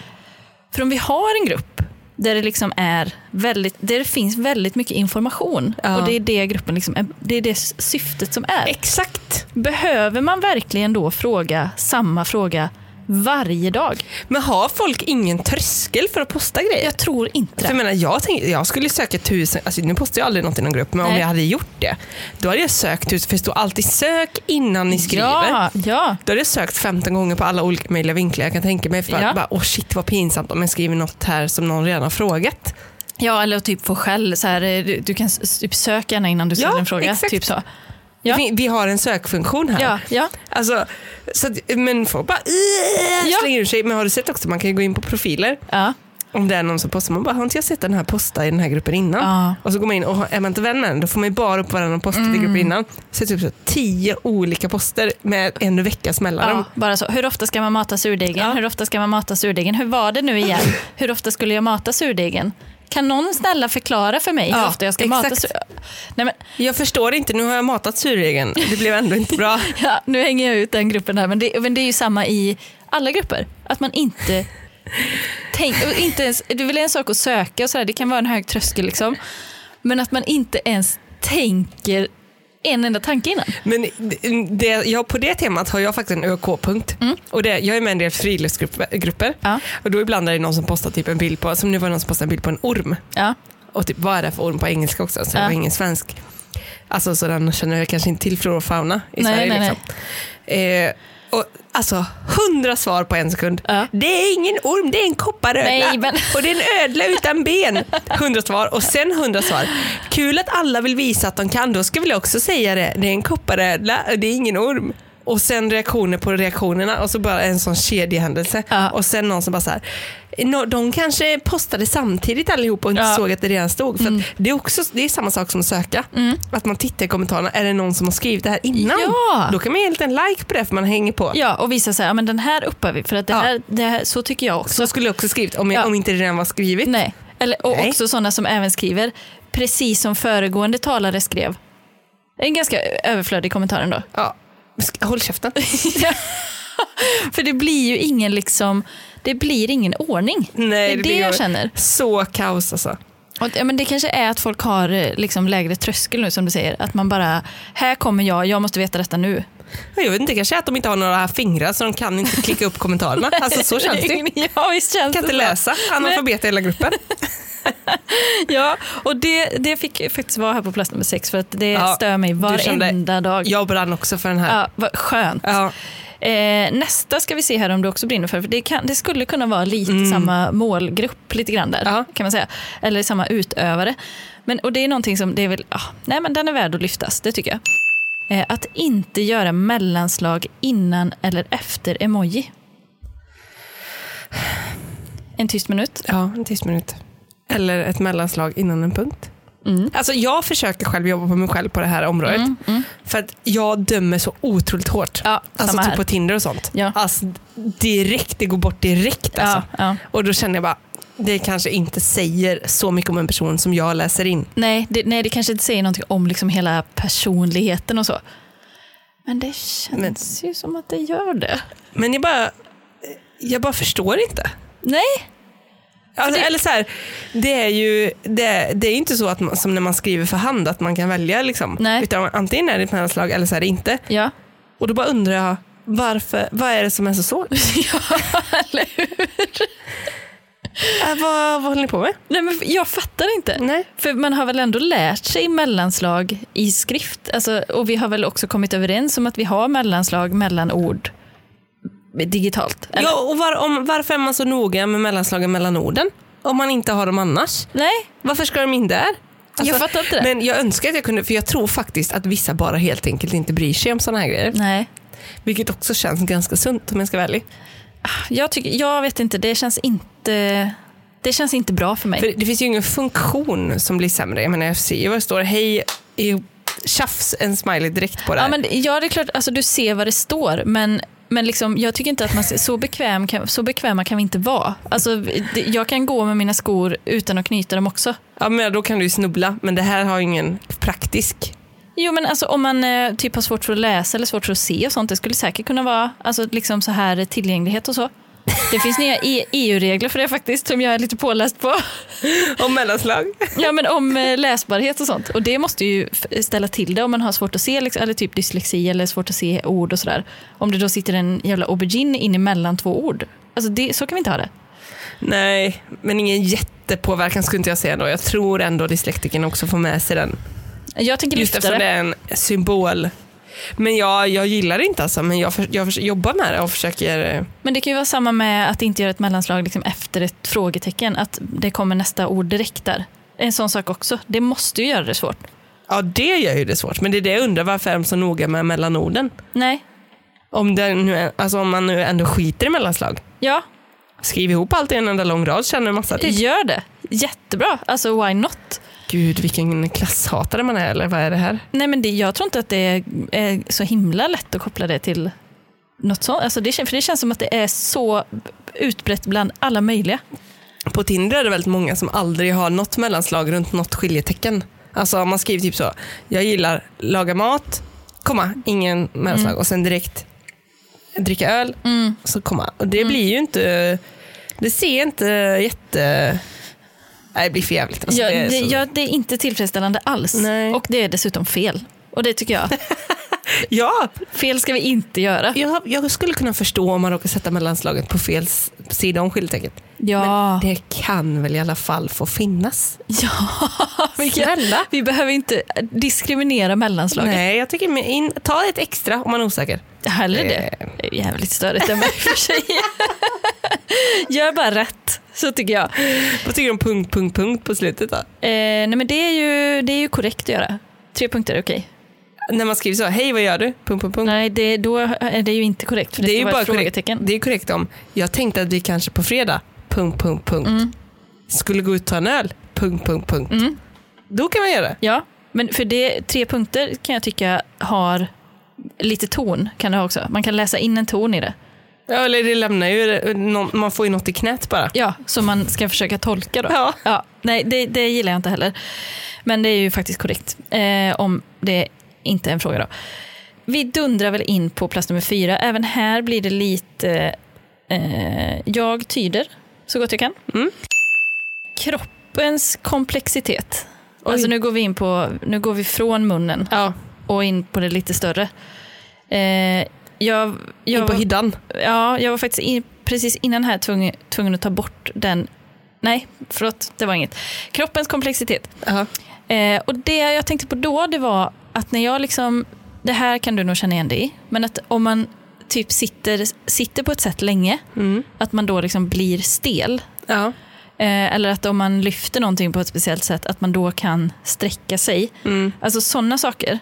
För om vi har en grupp där det, liksom är väldigt, där det finns väldigt mycket information
Ja.
och det är det, gruppen liksom, är- det är det syftet som är.
Exakt.
Behöver man verkligen då fråga samma fråga varje dag?
Men har folk ingen tröskel för att posta grejer?
Jag tror inte
För jag,
det.
menar, jag, tänkte, jag skulle söka tusen, alltså, nu postar jag aldrig något i någon grupp, men om
Nej.
jag hade gjort det, då hade jag sökt tusen, för det står alltid sök innan ni skriver.
Ja, ja.
Då hade jag sökt 15 gånger på alla olika möjliga vinklar jag kan tänka mig. För
Ja.
att bara, åh shit vad pinsamt om jag skriver något här som någon redan har frågat.
ja, eller typ få skäll. Så här, du, du kan s- typ sök gärna innan du
Ja,
ställer en fråga.
exakt.
Typ så. Ja.
Vi, vi har en sökfunktion här.
Ja, ja.
Alltså, så att, men folk bara "Äh",
Ja.
slänger ur sig. Men har du sett också, man kan ju gå in på profiler.
Ja.
Om det är någon som postar, man bara, har inte jag sett den här posta i den här gruppen innan?
Ja. Mm.
Och så går man in och är man inte vän med den, då får man ju bara upp varannan post i gruppen innan. Så är det typ så tio olika poster med en veckas mellanrum.
Ja, bara så. Hur ofta ska man mata surdegen? Hur ofta ska man mata surdegen? Hur var det nu igen? Hur ofta skulle jag mata surdegen? Kan någon snälla förklara för mig hur
Ja,
ofta jag ska mata
exakt.
surdegen? Nej, men,
Jag förstår inte, nu har jag matat surregeln. Det blev ändå inte bra.
ja, nu hänger jag ut den gruppen här, men det, men det är ju samma i alla grupper. Att man inte... Tänk, och inte ens, det är väl en sak att söka och sådär, det kan vara en hög tröskel liksom. Men att man inte ens tänker en enda tanke innan.
Men det- det, ja, på det temat har jag faktiskt en ÖK-punkt. Och det, jag är med i en del friluftsgrupper. grupper.
Mm. Ja.
Och då ibland är det någon som postar typ en bild på, som nu var det någon som postade en bild på en orm.
Ja,
Och typ, vad är det för orm på engelska också? Så det
Ja.
var ingen svensk. Alltså så den känner jag kanske inte till flora och fauna i
Nej,
Sverige.
nej,
liksom. Eh, och, alltså, hundra svar på en sekund.
Ja.
Det är ingen orm, det är en kopparödla.
Nej, men-
Och det är en ödla utan ben. Hundra svar och sen hundra svar. Kul att alla vill visa att de kan. Då ska vi också säga det. Det är en kopparödla, det är ingen orm. Och sen reaktioner på reaktionerna och så bara en sån kedjehändelse.
Ja.
Och sen någon som bara så här. "Nå- De kanske postade samtidigt allihop och inte
Ja. Mm.
såg att det redan stod. För att det, är också, det är samma sak som att söka. Att man tittar i kommentarerna. Är det någon som har skrivit det här innan?
Ja.
Då kan man ge en liten like på det för man hänger på.
Ja, och visa så här, ja, men den här uppar vi för att det
Ja.
här, det här, så tycker jag också.
Så skulle jag också skrivit om, jag,
Ja.
om inte det redan var skrivet.
Nej. Eller, och
Nej.
också sådana som även skriver, precis som föregående talare skrev. En ganska överflödig kommentar ändå.
Ja. Sk- Håll käften.
För det blir ju ingen liksom, det blir ingen ordning. det är det,
blir
jag
jobbigt.
känner.
Så kaos alltså.
Och, ja, men det kanske är att folk har eh, liksom, lägre tröskel nu som du säger. Att man bara, här kommer jag, jag måste veta detta nu.
Jag vet inte, kanske är att de inte har några fingrar så de kan inte klicka upp kommentarerna. Alltså så känns det. ju.
Ja, visst känns
Kan
det
inte
så.
läsa, analfabet i hela gruppen.
Ja, och det, det fick ju faktiskt vara här på plats nummer sex för att det
Ja,
stör mig
du kände-
varenda dag.
Jag brann också för den här.
Ja, vad skönt.
Ja.
Eh, nästa ska vi se här om du också brinner för, för det, kan, det skulle kunna vara lite samma målgrupp lite grann där,
Mm. Ja.
kan man säga. Eller samma utövare. Men, och det är någonting som, det är väl, ah, nej men den är värd att lyftas, det tycker jag. Eh, att inte göra mellanslag innan eller efter emoji. En tyst minut.
Ja, en tyst minut. Eller ett mellanslag innan en punkt.
Mm.
Alltså jag försöker själv jobba på mig själv på det här området. För att jag dömer så otroligt hårt.
Ja,
alltså
samma
typ
här.
på Tinder och sånt.
Ja.
Alltså direkt, det går bort direkt alltså.
Ja, ja.
Och då känner jag bara, det kanske inte säger så mycket om en person som jag läser in.
Nej, det, nej, det kanske inte säger någonting om liksom hela personligheten och så. Men det känns ju som att det gör det.
Men jag bara, jag bara förstår inte.
Nej,
Alltså,
det-
Eller så här, det är ju det, det är ju inte så att man, som när man skriver för hand att man kan välja. Liksom.
Nej.
Utan antingen är det ett mellanslag eller så är det inte.
ja.
Och då bara undrar jag, varför, vad är det som är så svårt?
Eller hur?
Äh, vad, vad håller ni på med?
Nej, men jag fattar inte.
Nej.
För man har väl ändå lärt sig mellanslag i skrift. Alltså, och vi har väl också kommit överens om att vi har mellanslag mellan ord digitalt. eller?
Ja, och var, om, varför är man så noga med mellanslagen mellan orden? Om man inte har dem annars?
Nej,
Varför ska de in där? Alltså,
jag fattar inte det.
Men jag önskar att jag kunde, för jag tror faktiskt att vissa bara helt enkelt inte bryr sig om sådana här grejer.
Nej.
Vilket också känns ganska sunt om jag ska vara ärlig.
Jag, tycker, jag vet inte, det känns inte, det känns inte bra för mig.
För det finns ju ingen funktion som blir sämre. Jag menar, jag ser vad det står. Hej, i- tjafs, en smiley direkt på det
ja,
här.
men, ja, det är klart, alltså, du ser vad det står, men men liksom, jag tycker inte att man så, bekväm kan, så bekväma kan vi inte vara. Alltså, det, jag kan gå med mina skor utan att knyta dem också.
ja, men då kan du ju snubbla, men det här har ju ingen praktisk.
Jo men alltså om man eh, typ har svårt för att läsa eller svårt för att se och sånt, det skulle säkert kunna vara alltså, liksom så här eh, tillgänglighet och så. Det finns nya E- EU-regler för det faktiskt, som jag är lite påläst på.
Och mellanslag.
Ja men om eh, läsbarhet och sånt. Och det måste ju f- ställa till det om man har svårt att se, liksom, eller typ dyslexi eller svårt att se ord och sådär. Om det då sitter en jävla aubergine in emellan två ord. Alltså det, så kan vi inte ha det.
Nej, men ingen jättepåverkan skulle inte jag säga då. Jag tror ändå dyslektikern också får med sig den.
Jag tänker
Just
lyfta
eftersom det
det.
är en symbol. Men jag, jag gillar det inte alltså, men jag, för, jag för, jobbar med det och försöker... eh,
Men det kan ju vara samma med att inte göra ett mellanslag liksom efter ett frågetecken, att det kommer nästa ord direkt där. En sån sak också, det måste ju göra det svårt.
Ja, det gör ju det svårt. Men det är det jag undrar, varför är de så noga med mellanorden?
Nej,
Om, det nu är, alltså, om man nu ändå skiter i mellanslag.
ja,
Skriv ihop allt i en enda lång rad, känner en massa tid.
gör det. Jättebra, alltså why not?
Gud, vilken klasshatare man är, eller vad är det här?
Nej men det, jag tror inte att det är, är så himla lätt att koppla det till något sånt. Alltså det, kän- för det känns som att det är så utbrett bland alla möjliga.
På Tinder är det väldigt många som aldrig har något mellanslag runt något skiljetecken. Alltså man skriver typ så, jag gillar laga mat, komma, ingen mellanslag. Och sen direkt dricka öl, så komma. Och det blir ju inte, det ser inte jätte... Nej, det blir för jävligt. Alltså,
ja,
det är
det,
så-
ja, det är inte tillfredsställande alls.
Nej.
Och det är dessutom fel. Och det tycker jag.
ja
Fel ska vi inte göra.
jag, jag skulle kunna förstå om man råkar sätta mellanslaget på fel s- sida om skiljetecket.
Ja,
Men det kan väl i alla fall få finnas?
ja vilka-
Snälla.
vi behöver inte diskriminera mellanslaget.
Nej, jag tycker med in, ta ett extra om man är osäker.
Hellre det.
Eh.
Det är jävligt störigt än mig för sig. Gör bara rätt, så tycker jag.
Vad tycker du om punkt, punkt, punkt på slutet då?
Eh, nej men det är, ju, det är ju korrekt att göra. Tre punkter är okej.
När man skriver så, hej vad gör du? Punkt, punkt, punkt.
Nej, det, då är det ju inte korrekt. För det,
det är ju
ska vara
bara
ett
korrekt,
frågetecken.
det är korrekt om, jag tänkte att vi kanske på fredag, punkt, punkt, punkt, skulle gå ut och ta en öl, punkt, punkt, punkt.
Mm.
Då kan man göra det.
Ja, men för det, tre punkter kan jag tycka har lite ton. Kan det ha också. Man kan läsa in en ton i det.
Ja, eller det lämnar ju, någon- man får ju något i knät bara.
Ja, som man ska försöka tolka då.
Ja.
nej, det, det gillar jag inte heller. Men det är ju faktiskt korrekt. Eh, om det inte är en fråga då. Vi dundrar väl in på plats nummer fyra. Även här blir det lite... Eh, jag tyder så gott jag kan.
Mm.
Kroppens komplexitet.
Oj.
Alltså nu går vi in på, nu går vi från munnen
Ja,
och in på det lite större. Eh, jag, jag,
in på
var-
hyddan.
Ja, jag var faktiskt in, precis innan här tvungen, tvungen att ta bort den. Nej, förlåt, det var inget. Kroppens komplexitet.
Ja.
Eh, och det jag tänkte på då, det var att när jag liksom, det här kan du nog känna igen dig i, men att om man typ sitter, sitter på ett sätt länge,
Mm.
att man då liksom blir stel.
Ja.
Eh, eller att om man lyfter någonting på ett speciellt sätt, att man då kan sträcka sig.
Mm.
Alltså sådana saker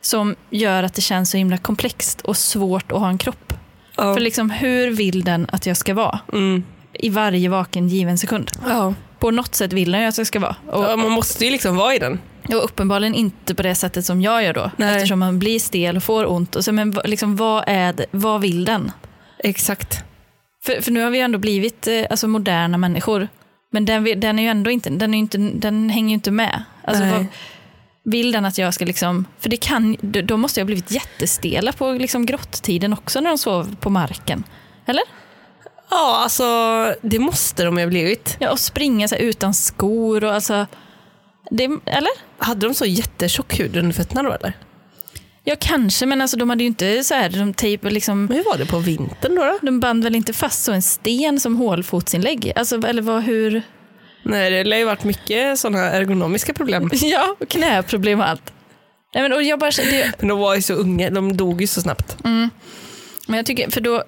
som gör att det känns så himla komplext och svårt att ha en kropp.
Ja.
För liksom, hur vill den att jag ska vara?
Mm.
I varje vaken given sekund.
Ja.
På något sätt vill den ju att jag ska vara. Och,
Ja, man måste ju liksom vara i den.
och uppenbarligen inte på det sättet som jag gör då.
Nej.
Eftersom man blir stel och får ont. Och så, men vad- liksom, vad, är det, vad vill den?
Exakt.
För, för nu har vi ju ändå blivit eh, alltså, moderna människor. Men den, vill- den, är ju ändå inte, den, är ju inte, den hänger ju inte med. Alltså,
Nej.
vad, vill den att jag ska liksom... För det kan, då- då måste jag ha blivit jättestela på liksom, grottiden också när de sov på marken. Eller?
Ja, alltså det måste de ju ha blivit.
Ja, och springa så här utan skor och alltså... Det, eller?
Hade de så jättetjock hud under fötterna då eller?
Ja, kanske, men alltså, de hade ju inte så här, de tejp, liksom...
Men hur var det på vintern då? då?
De band väl inte fast så en sten som hålfotsinlägg? Alltså, eller vad, hur?
Nej, det lär ju varit mycket sådana ergonomiska problem.
Ja, och knäproblem och allt. Nej, men, och jag bara, känner- det,
Men de var ju så unga, de dog ju så snabbt.
Mm. men jag tycker, för då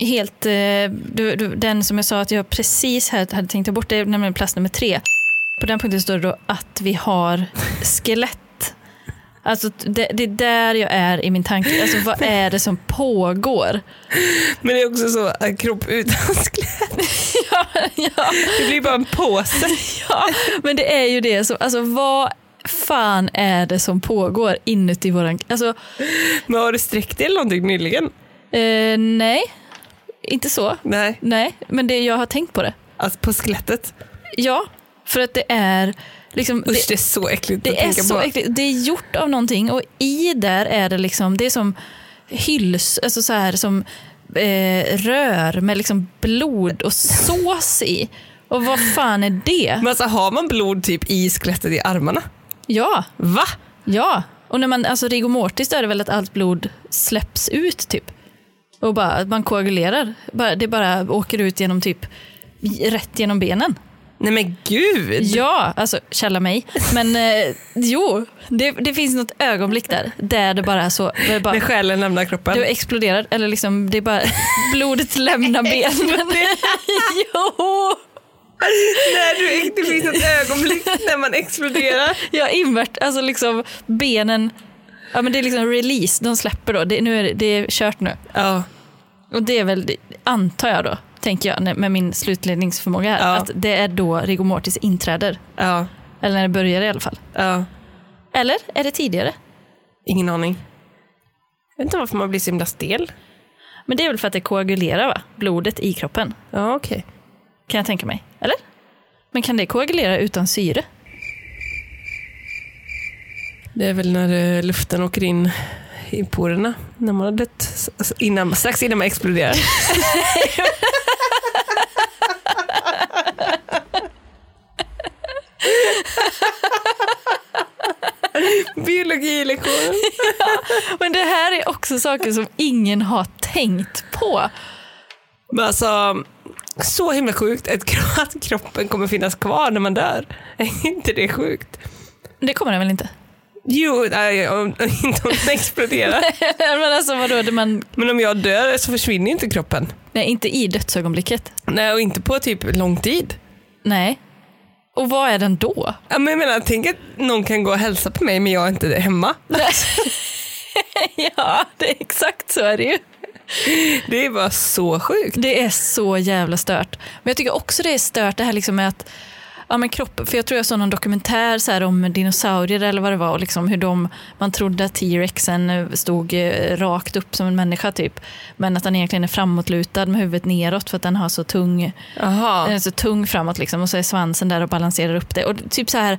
helt, eh, du, du, den som jag sa att jag precis här hade tänkt ta bort, det är nämligen plats nummer tre. På den punkten står det då att vi har skelett. Alltså det, det är där jag är i min tanke. Alltså vad är det som pågår?
Men det är också så, en kropp utan skelett.
Ja, ja,
Det blir bara en påse.
ja, men det är ju det som, alltså vad fan är det som pågår inuti våran, alltså
Men har du sträckt dig eller någonting nyligen?
eh, nej, inte så,
Nej,
nej, men det jag har tänkt på det.
alltså på skelettet.
Ja, för att det är liksom, det,
Usch, det, är så äckligt att
det är
tänka
så
på.
äckligt, det är gjort av någonting och i där är det liksom, det är som hylls, alltså så här som eh, rör med liksom blod och sås i. Och vad fan är det?
Men alltså har man blod typ i skelettet i armarna?
Ja.
Va?
Ja, och när man, alltså rigor mortis då är det väl att allt blod släpps ut typ. Och bara, att man koagulerar. Bara, det bara åker ut genom typ, rätt genom benen.
Nej men gud!
Ja, alltså källa mig. Men eh, jo, det, det finns något ögonblick där, där det bara är så, det bara,
När själen lämnar kroppen.
du exploderar, eller liksom, det är bara, blodet lämnar benen. jo,
När du, det finns ett ögonblick när man exploderar.
ja invert, alltså liksom benen, ja men det är liksom release, de släpper då, det, nu är det, det är kört nu.
Ja.
Och det är väl, antar jag då, tänker jag när- med min slutledningsförmåga här,
Ja.
att det är då rigor mortis inträder.
Ja.
Eller när det börjar i alla fall.
ja.
Eller är det tidigare?
Ingen aning. Jag vet inte varför man blir så himla stel.
Men det är väl för att det koagulerar va? Blodet i kroppen,
Ja, okej.
kan jag tänka mig. Eller? Men kan det koagulera utan syre?
Det är väl när eh, luften åker in i porerna när man har dött. S- s- Innan, strax innan man exploderar. Biologilektion.
Men det här är också saker som ingen har tänkt på.
Men alltså, så himla sjukt att kro- att kroppen kommer finnas kvar när man dör. Är inte det sjukt?
Det kommer den väl inte?
Jo, nej, om, inte om den exploderar.
men alltså vadå, det man,
Men om jag dör så försvinner ju inte kroppen.
nej, inte i dödsögonblicket.
Nej, och inte på typ lång tid.
Nej. Och vad är den då?
Ja, men jag menar, tänk att någon kan gå och hälsa på mig men jag är inte hemma.
ja, det är exakt så är det ju.
Det är bara så sjukt.
Det är så jävla stört. Men jag tycker också det är stört det här liksom med att Ja, men kropp, för jag tror jag såg någon dokumentär så här om dinosaurier eller vad det var och liksom hur de, man trodde att T-rexen eh, stod eh, rakt upp som en människa typ men att den egentligen är framåtlutad med huvudet neråt för att den har så tung
Aha.
Den är så tung framåt liksom, och så är svansen där och balanserar upp det. Och typ så här,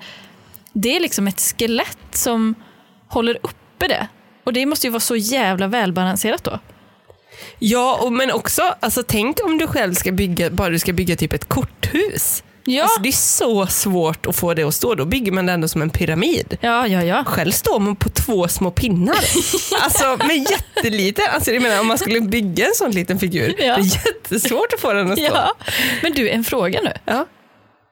det är liksom ett skelett som håller uppe det. Och det måste ju vara så jävla välbalanserat då.
Ja, och, men också, alltså, tänk om du själv ska bygga, bara du ska bygga typ ett korthus.
Ja,
Alltså, det är så svårt att få det att stå. Då bygger man det ändå som en pyramid.
ja, ja. ja.
Själv står man på två små pinnar. Alltså med jätteliten. Alltså, jag menar, om man skulle bygga en sån liten figur.
Ja.
Det är jättesvårt att få den att stå.
ja. Men du, en fråga nu.
Ja.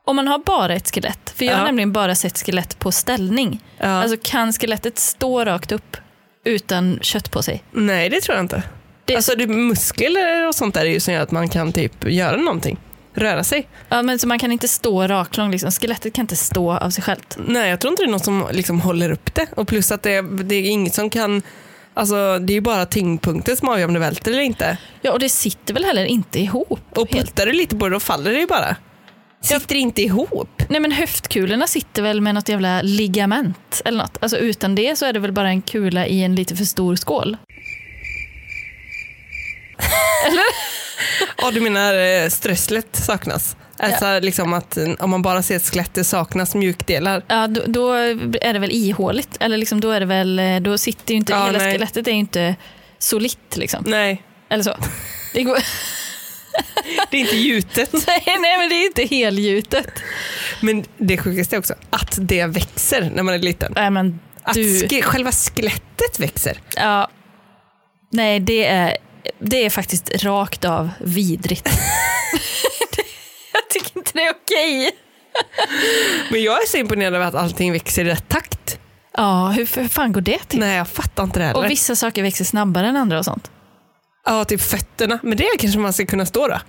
Om man har bara ett skelett, för jag har
Ja.
nämligen bara sett skelett på ställning.
Ja.
Alltså kan skelettet stå rakt upp utan kött på sig?
Nej, det tror jag inte.
Det-
Alltså det är muskler och sånt där är ju som gör att man kan typ göra någonting. Röra sig.
Ja, men så man kan inte stå raklång, liksom. skelettet kan inte stå av sig självt.
Nej, jag tror inte det är någon som liksom håller upp det. Och plus att det, det är inget som kan... Alltså det är ju bara tyngdpunkten som avgör om det välter eller inte.
Ja, och det sitter väl heller inte ihop?
Och
helt?
puttar du lite på det då faller det ju bara. Sitter inte ihop.
Nej men höftkulorna sitter väl med något jävla ligament eller något. Alltså utan det så är det väl bara en kula i en lite för stor skål.
Ja, du menar eh, strösslet saknas? Alltså liksom att eh, om man bara ser ett skelett, det saknas mjukdelar.
Ja, då, då är det väl ihåligt. Eller liksom då är det väl, då sitter ju inte,
Ja,
hela
nej.
skelettet är ju inte solitt liksom.
Nej,
Eller så. Det går,
det är inte gjutet.
nej, nej men det är inte helgjutet.
Men det sjukaste är också att det växer när man är liten.
Nej men
Att
du.
ske, själva skelettet växer.
Ja. Nej det är, det är faktiskt rakt av vidrigt. Jag tycker inte det är okej.
Men jag är så imponerad över att allting växer i rätt takt.
Ja, hur, hur fan går det till?
Nej, jag fattar inte det heller.
Typ. Och vissa saker växer snabbare än andra och sånt.
Ja, typ fötterna. Men det kanske man ska kunna stå då.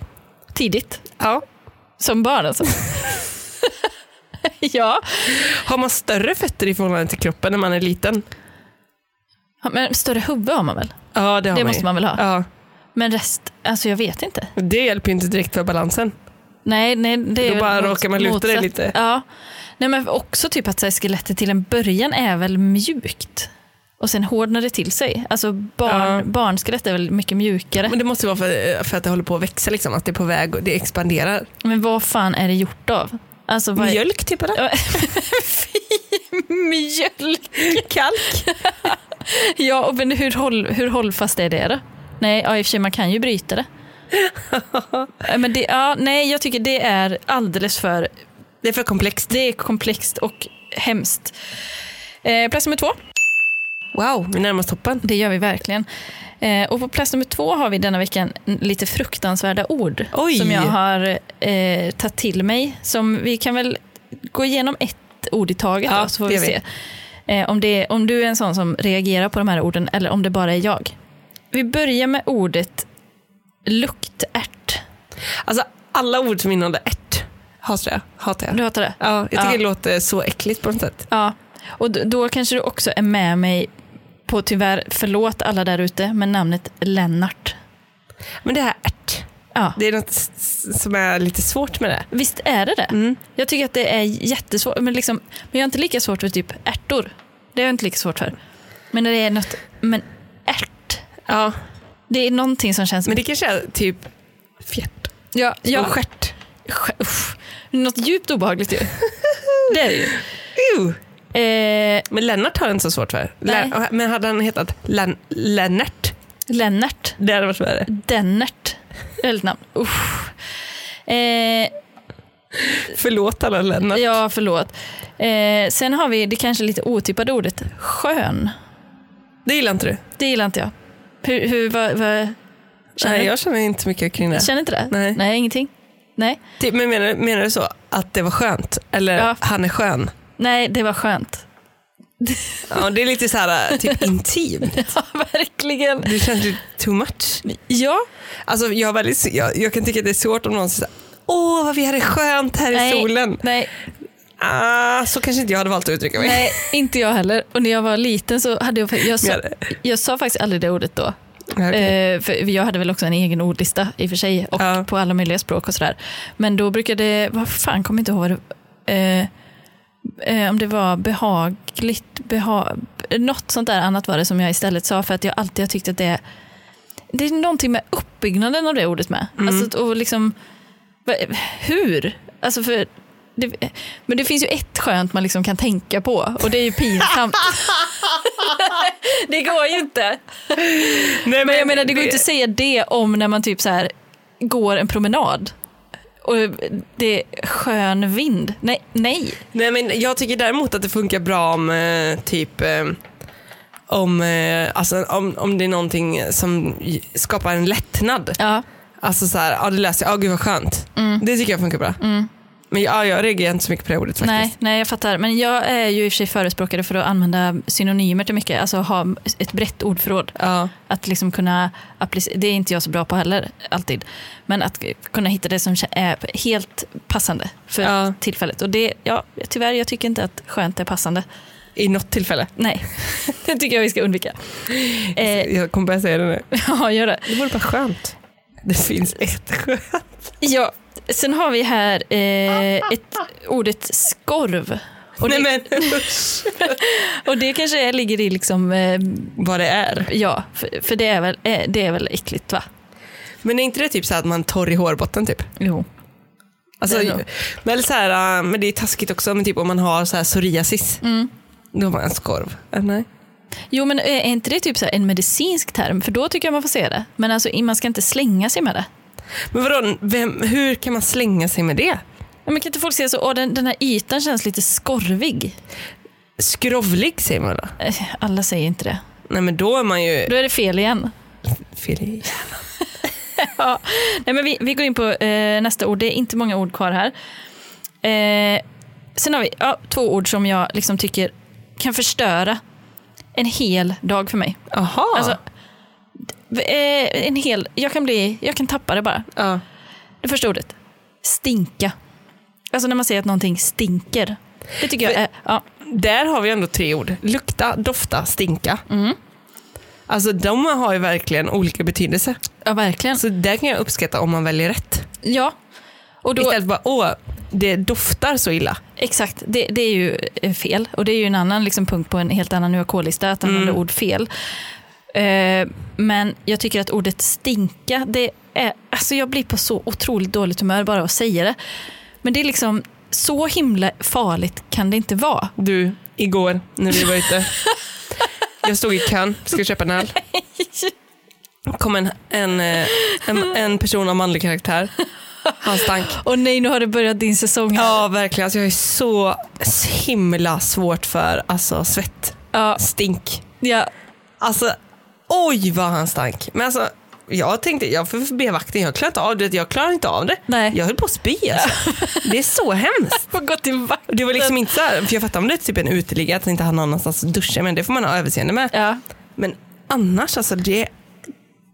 Tidigt.
Ja.
Som barn alltså. ja.
Har man större fötter i förhållande till kroppen när man är liten?
Men större huvud har man väl?
Ja, det har
Det
man
måste
ju.
man väl ha?
Ja.
Men rest, alltså jag vet inte.
Det hjälper ju inte direkt för balansen.
Nej, nej. Det är
Då
väl
bara
mot-
råkar man luta dig
motsatt.
lite.
Ja. Nej men också typ att så här, skelettet till en början är väl mjukt. Och sen hårdnar det till sig. Alltså barn,
Ja.
barnskelett är väl mycket mjukare.
Men det måste vara för, för att det håller på att växa, liksom, att det är på väg och det expanderar.
Men vad fan är det gjort av? Alltså vad är...
Mjölk typ eller?
Ja, Fy, mjölk!
Kalk?
Ja, och men hur, håll, hur hållfast är det då? Nej, ja, i och för sig man kan ju bryta det. Eh, men det ja, nej, jag tycker det är alldeles för
Det är för komplext.
det är komplext och hemskt. Eh, plats nummer två.
Wow, vi närmar oss toppen.
Det gör vi verkligen. Eh, och på plats nummer två har vi denna veckan lite fruktansvärda ord
Oj.
som jag har eh, tagit till mig. Som vi kan väl gå igenom ett ord i taget
Ja,
då, så får
det
vi
gör vi.
se eh, om, det, om du är en sån som reagerar på de här orden eller om det bara är jag. Vi börjar med ordet luktärt.
Alltså alla ord som innehåller ärt hatar jag. Hatar jag.
Du hatar det?
Ja, jag tycker
Ja.
det låter så äckligt på något sätt.
Ja, och d- då kanske du också är med mig på, tyvärr, förlåt alla där ute, men namnet Lennart.
Men det här ärt,
Ja.
det är något s- s- som är lite svårt med det.
Visst är det det? Jag tycker att det är jättesvårt, men, liksom, men jag har inte lika svårt för typ ärtor. Det har jag inte lika svårt för. Men när det är något, men ärt,
Ja,
det är någonting som känns...
men det kanske är typ fjärt
ja,
och
ja,
stjärt.
usch, något djupt obehagligt ju. det är det ju.
Ew.
Eh,
Men Lennart har jag inte så svårt för.
Nej.
Lä- men hade han hetat Len- Lennart,
Lennart.
det hade varit värre.
Dennert. Väldigt namn. Usch. Eh,
Förlåt alla Lennart.
ja, förlåt. Eh, sen har vi det kanske lite otippade ordet skön.
Det gillar inte du?
Det gillar inte jag. Hur, hur, vad, vad, känner
Nej,
du?
jag känner inte så mycket kring det.
Känner inte det?
Nej.
Nej, ingenting. Nej.
Typ, Men menar, menar du så, att det var skönt? Eller
Ja.
han är skön?
Nej, det var skönt.
Ja, det är lite så här typ intimt.
Ja, verkligen.
Det känns lite too much.
Ja,
Alltså, jag, är väldigt, jag, jag kan tycka att det är svårt om någon säger så här, åh vad vi hade skönt här i
nej,
solen.
Nej,
Ah, så kanske inte jag hade valt att uttrycka mig.
nej, inte jag heller. Och när jag var liten så hade jag, jag, sa,
Men jag-
jag sa faktiskt aldrig det ordet då.
Nej, okej.
Eh, för jag hade väl också en egen ordlista i och för sig och
Ja.
på alla möjliga språk och sådär. Men då brukade, vad fan kommer inte ihåg vad det eh, eh, om det var behagligt, beha, något sånt där annat var det som jag istället sa för att jag alltid har tyckt att det är, det är någonting med uppbyggnaden av det ordet med.
Mm.
Alltså, att- och liksom, va- hur? Alltså för, det, men det finns ju ett skönt man liksom kan tänka på och det är ju pinsamt. det går ju inte.
Nej,
Men jag menar det går ju inte att säga det om när man typ så här går en promenad och det är skön vind. Nej, nej.
Nej, men jag tycker däremot att det funkar bra om eh, typ eh, om, eh, alltså, om, om det är någonting som j- skapar en lättnad.
Ja,
Alltså så här, ja det läser jag, ja gud vad skönt.
Mm.
Det tycker jag funkar bra. Men ja, jag reagerar inte så mycket på det ordet faktiskt.
nej, nej, jag fattar. Men jag är ju i och för sig förespråkare för att använda synonymer till mycket, alltså ha ett brett ordförråd.
Ja.
Att liksom kunna applicera, det är inte jag så bra på heller, alltid. Men att kunna hitta det som är helt passande för
Ja.
tillfället. Och det, ja, tyvärr, jag tycker inte att skönt är passande.
I något tillfälle.
Nej, det tycker jag vi ska undvika. Eh,
Jag kommer börja säga det nu.
ja, gör det.
Det vore bara skönt. Det finns ett skönt.
Ja, sen har vi här eh, ett, ordet skorv. Och det,
Nej men
och det kanske är- ligger i liksom, eh,
vad det är.
ja, för, för det, är väl, eh, det är väl äckligt va?
Men är inte det typ så här att man torr i hårbotten typ?
Jo.
Alltså,
Det är nog.
men, eller så här, äh, men det är taskigt också, men typ om man har så här psoriasis,
Mm.
då har man en skorv. Äh, Nej.
Jo men är inte det typ så här en medicinsk term? För då tycker jag man får se det. Men alltså man ska inte slänga sig med det.
Men vadå, vem, hur kan man slänga sig med det?
Ja, Men kan inte folk säga så, åh den, den här ytan känns lite skorvig.
Skrovlig säger man då?
Eh, Alla säger inte det.
Nej men då är man ju...
Då är det fel igen.
fel i-
Ja. Nej, men vi, vi går in på eh, nästa ord. Det är inte många ord kvar här. Eh, sen har vi ja, två ord som jag liksom tycker kan förstöra en hel dag för mig.
Jaha.
Alltså, d- eh, en hel, jag, kan bli, jag kan tappa det bara.
ja.
Det första ordet, stinka. Alltså när man säger att någonting stinker. Det tycker jag är... Ja,
Där har vi ändå tre ord. Lukta, dofta, stinka.
Mm.
Alltså de har ju verkligen olika betydelse.
ja verkligen.
Så där kan jag uppskatta om man väljer rätt.
Ja. Och då,
Istället för bara, åh, det doftar så illa.
Exakt, det, det är ju eh, fel. Och det är ju en annan liksom, punkt på en helt annan UAK-lista, att använda
Mm.
ord fel. Eh, men jag tycker att ordet stinka, det är, alltså jag blir på så otroligt dåligt humör bara av att säga det. Men det är liksom, så himla farligt kan det inte vara.
Du, igår när vi var ute. jag stod i kön, skulle köpa en öl. kom en, en, eh, en, en person av manlig karaktär. Han stank.
Och nej, nu har det börjat din säsong här.
Ja, verkligen. Alltså, jag är så himla svårt för alltså, svett.
Ja,
Stink.
ja,
Alltså, oj vad han stank. Men alltså, jag tänkte, jag får be vakten, jag klarar inte av det. Jag klarar inte av det.
Nej.
Jag höll på att spy alltså. Det är så hemskt.
får gå till vakt.
Det var liksom inte så här, för jag fattar om det är typ en uteliggare att inte han har någonstans att duscha, men det får man ha överseende med.
Ja,
Men annars alltså, det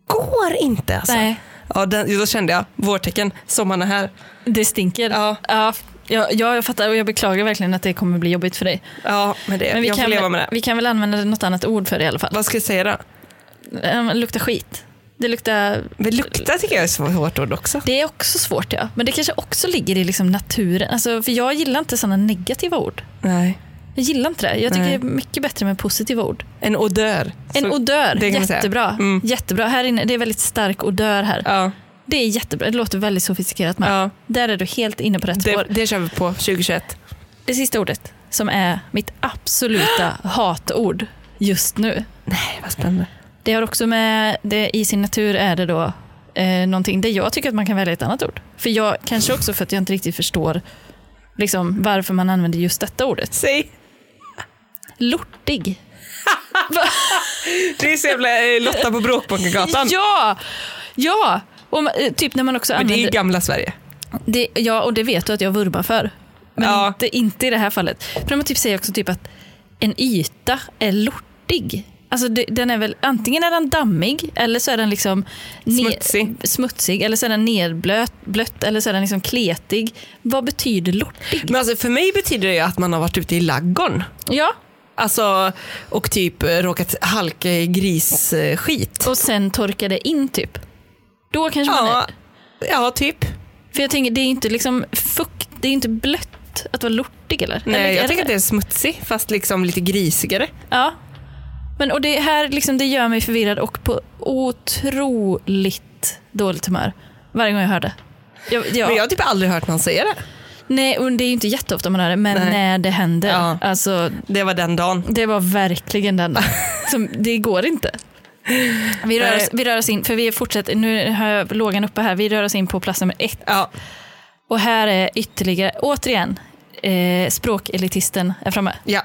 går inte alltså.
nej,
Ja, den, då kände jag vårtecken, sommaren är här.
det stinker.
Ja.
Ja, ja, jag fattar och jag beklagar verkligen att det kommer bli jobbigt för dig.
Ja, men det,
Men vi,
jag
kan,
får leva
väl-
med det.
vi kan väl använda något annat ord för det i alla fall.
Vad ska jag säga då?
Ja, men lukta Ehm, skit. Det luktar...
Men lukta tycker jag är ett svårt ord också.
Det är också svårt ja. Men det kanske också ligger i liksom naturen. Alltså, för jag gillar inte sådana negativa ord.
Nej.
Jag gillar inte det. Jag tycker
Nej.
det är mycket bättre med positiva ord.
En odör.
En
Så-
odör,
det kan man säga.
jättebra.
Mm.
Jättebra. Här inne, det är väldigt stark odör här.
Ja,
Det är jättebra. Det låter väldigt sofistikerat med.
ja.
Där är du helt inne på rätt
Det,
spår.
det kör vi på 2021.
Det sista ordet som är mitt absoluta hatord just nu.
Nej, vad spännande.
Det har också med, det, i sin natur är det då eh, någonting där jag tycker att man kan välja ett annat ord. För jag, kanske också för att jag inte riktigt förstår liksom, varför man använder just detta ordet.
Säg.
Lortig.
Det är så jävla eh, Lotta på Bråkmakagatan.
Ja! Ja! Och, ma- eh, typ när man också
Men det är ju
använder...
gamla Sverige.
Det, ja, och det vet du att jag vurmar för. Men
Ja.
inte, inte i det här fallet. För när man typ säger också typ att en yta är lortig. Alltså det, den är väl, antingen är den dammig eller så är den liksom ne-
Smutsig.
smutsig eller så är den nerblött blött, eller så är den liksom kletig. Vad betyder lortig?
Men alltså för mig betyder det ju att man har varit ute i laggorn.
Ja,
Alltså, och typ eh, råkat halka i grisskit.
och sen torkar det in typ. Då kanske man
Ja,
är...
ja, typ.
För jag tänker, det är inte liksom fukt, det är inte blött att vara lortig eller? eller,
Nej,
är
Eh, jag tänker att det är smutsig fast liksom lite grisigare.
Ja. Men och det här liksom, det gör mig förvirrad och på otroligt dåligt humör varje gång jag hör det. Jag, jag,
Men jag har typ aldrig hört någon säga det.
Nej, och det är ju inte jätteofta man hör det, men
Nej.
när det händer.
Ja.
Alltså,
Det var den dagen.
det var verkligen den. Som, det går inte. Eh. Vi rör,
Nej.
oss, vi rör oss in, för vi är fortsatt, nu har jag lågan uppe här, vi rör oss in på plats nummer ett.
Ja,
Och här är ytterligare, återigen, eh, språkelitisten är framme.
ja.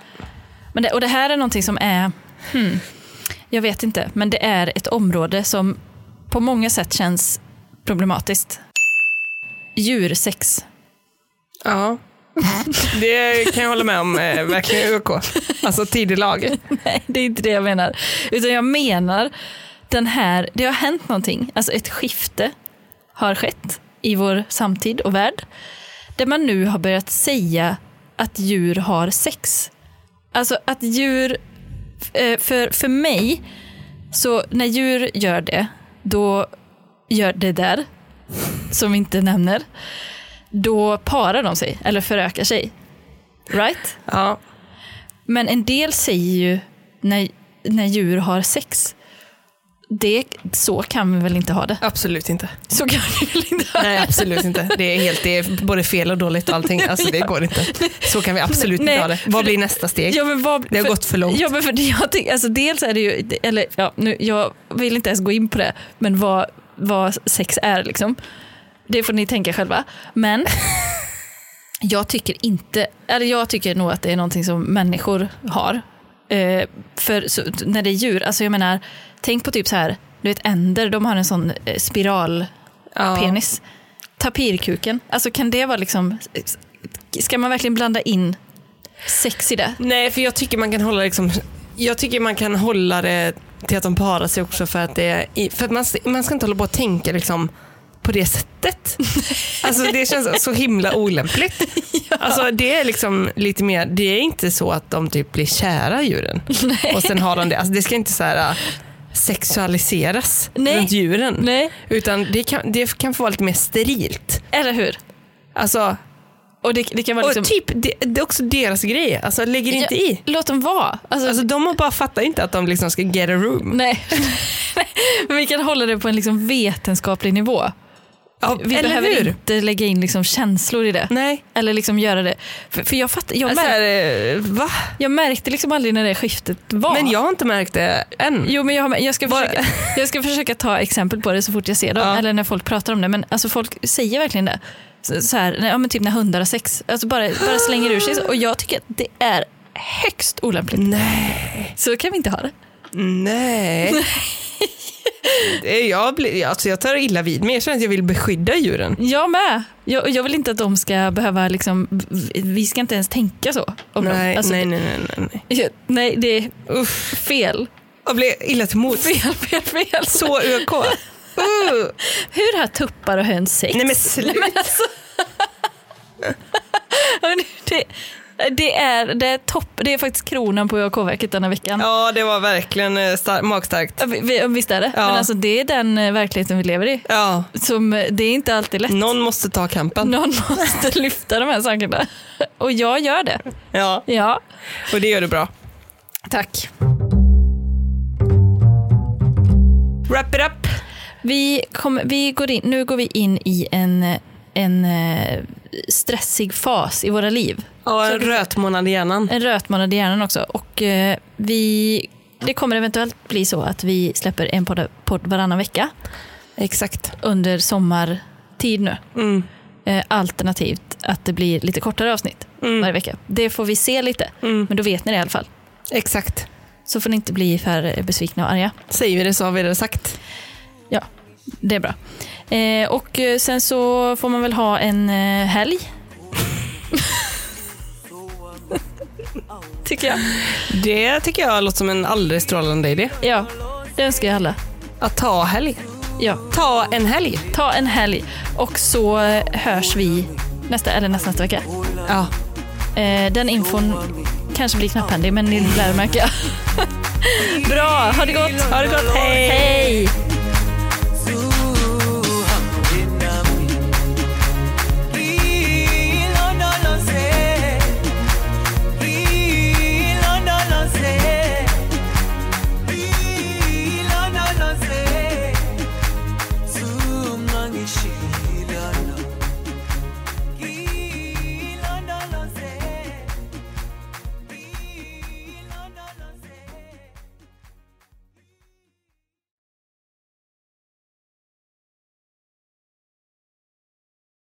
Men det, och det här är någonting som är, hmm, jag vet inte, men det är ett område som på många sätt känns problematiskt. Djursex.
ja. Det kan jag hålla med om, eh, verkligen ÖK. Alltså tidelag.
Nej, det är inte det jag menar. Utan jag menar, den här, det har hänt någonting, alltså ett skifte har skett i vår samtid och värld. Där man nu har börjat säga att djur har sex. Alltså att djur, eh, för, för mig, så när djur gör det, då gör det där, som vi inte nämner, då parar de sig eller förökar sig. Right?
Ja.
Men en del säger ju när, när djur har sex. Det, så kan vi väl inte ha det?
Absolut inte.
Så kan vi väl inte ha det?
Nej, absolut inte. Det är, helt, det är både fel och dåligt och allting. Alltså det går inte. Så kan vi absolut
Nej,
inte ha det.
för-
Vad blir nästa steg?
Ja, men vad,
Det har gått för långt.
Ja, men för det jag tänker, alltså dels är det ju, eller ja, nu, jag vill inte ens gå in på det, men vad, vad sex är liksom. Det får ni tänka själva. Men jag tycker inte, eller jag tycker nog att det är någonting som människor har. Eh, för så, när det är djur, alltså jag menar, tänk på typ så här, du vet änder, de har en sån eh, spiral
Ja.
penis. Tapirkuken, alltså kan det vara liksom, ska man verkligen blanda in sex i det?
Nej, för jag tycker man kan hålla liksom, jag tycker man kan hålla det till att de parar sig också för att det är, i- för att man, man ska inte hålla på och tänka liksom på det sättet. Alltså det känns så himla olämpligt. Alltså det är liksom lite mer, det är inte så att de typ blir kära i djuren. Och sen har de det, alltså det ska inte så här äh, sexualiseras
Nej.
runt djuren.
Nej.
Utan det kan, det kan få vara lite mer sterilt.
Eller hur?
Alltså,
Och det, det kan vara liksom...
och typ, det, det är också deras grej. Alltså lägger inte
Ja,
i.
Låt dem vara. Alltså,
Alltså de har bara fattar inte att de liksom ska get a room.
nej. Men vi kan hålla det på en liksom vetenskaplig nivå.
Ja,
Vi
eller
behöver
hur?
inte lägga in liksom känslor i det.
Nej.
Eller liksom göra det. För, för jag, fattar, jag,
Alltså,
märk,
här, eh, va?
jag märkte liksom aldrig när det skiftet var.
Men jag har inte märkt det än.
Jo, men jag, har- jag, ska
Bara-
försöka, jag ska försöka ta exempel på det så fort jag ser dem,
Ja.
eller när folk pratar om det. Men alltså, folk säger verkligen det. Så, så här, ja, men typ när hundar har sex, alltså bara, bara slänger ur sig. så. Och jag tycker att det är högst olämpligt.
Nej.
Så kan vi inte ha det.
Nej. Det är- jag, blir, alltså, jag tar illa vid mig. Jag känner att jag vill beskydda djuren.
Jag med. Jag, och jag vill inte att de ska behöva, liksom, v- vi ska inte ens tänka så. Om dem.
Nej,
Alltså,
nej, nej, nej, nej, nej.
jag- nej, det är
Uff,
fel.
jag blir illa till mods.
Fel, fel, fel.
Så ÖK. Uh.
Hur har tuppar och höns sex?
Nej men sluta.
Men alltså. det, det, är, det, är topp, det är faktiskt kronan på UAK-verket denna veckan.
Ja det var verkligen eh, star- magstarkt.
Vi- vi- Visst är det?
Ja.
Men alltså, det är den eh, verkligheten vi lever i.
Ja.
Som, eh, det är inte alltid lätt.
Någon måste ta kampen.
Någon måste lyfta de här sakerna. Och jag gör det.
Ja,
Ja.
och det gör du bra.
Tack.
Wrap it up.
Vi kom, vi går in, nu går vi in i en, eh, en eh, stressig fas i våra liv.
Ja, en rötmånad i hjärnan.
En rötmanad i hjärnan också. Och eh, vi, det kommer eventuellt bli så att vi släpper en podd, podd varannan vecka
Exakt.
under sommartid nu.
Mm.
Eh, alternativt att det blir lite kortare avsnitt varje vecka. Det får vi se lite,
Mm.
men då vet ni det i alla fall.
Exakt.
Så får ni inte bli för besvikna och arga.
Säger vi det så har vi det sagt.
Det är bra. Eh, och eh, sen så får man väl ha en eh, helg. tycker jag.
Det tycker jag låter som en alldeles strålande idé.
Ja, det önskar jag alla.
Att ta helg.
Ja,
Ta en helg.
ta en helg och så eh, hörs vi nästa, eller nästa, nästa vecka.
Ja.
Eh, den infon kanske blir knapphändig, men ni lär märka. Bra, ha det gott!
Ha det gott, hej!
Hej!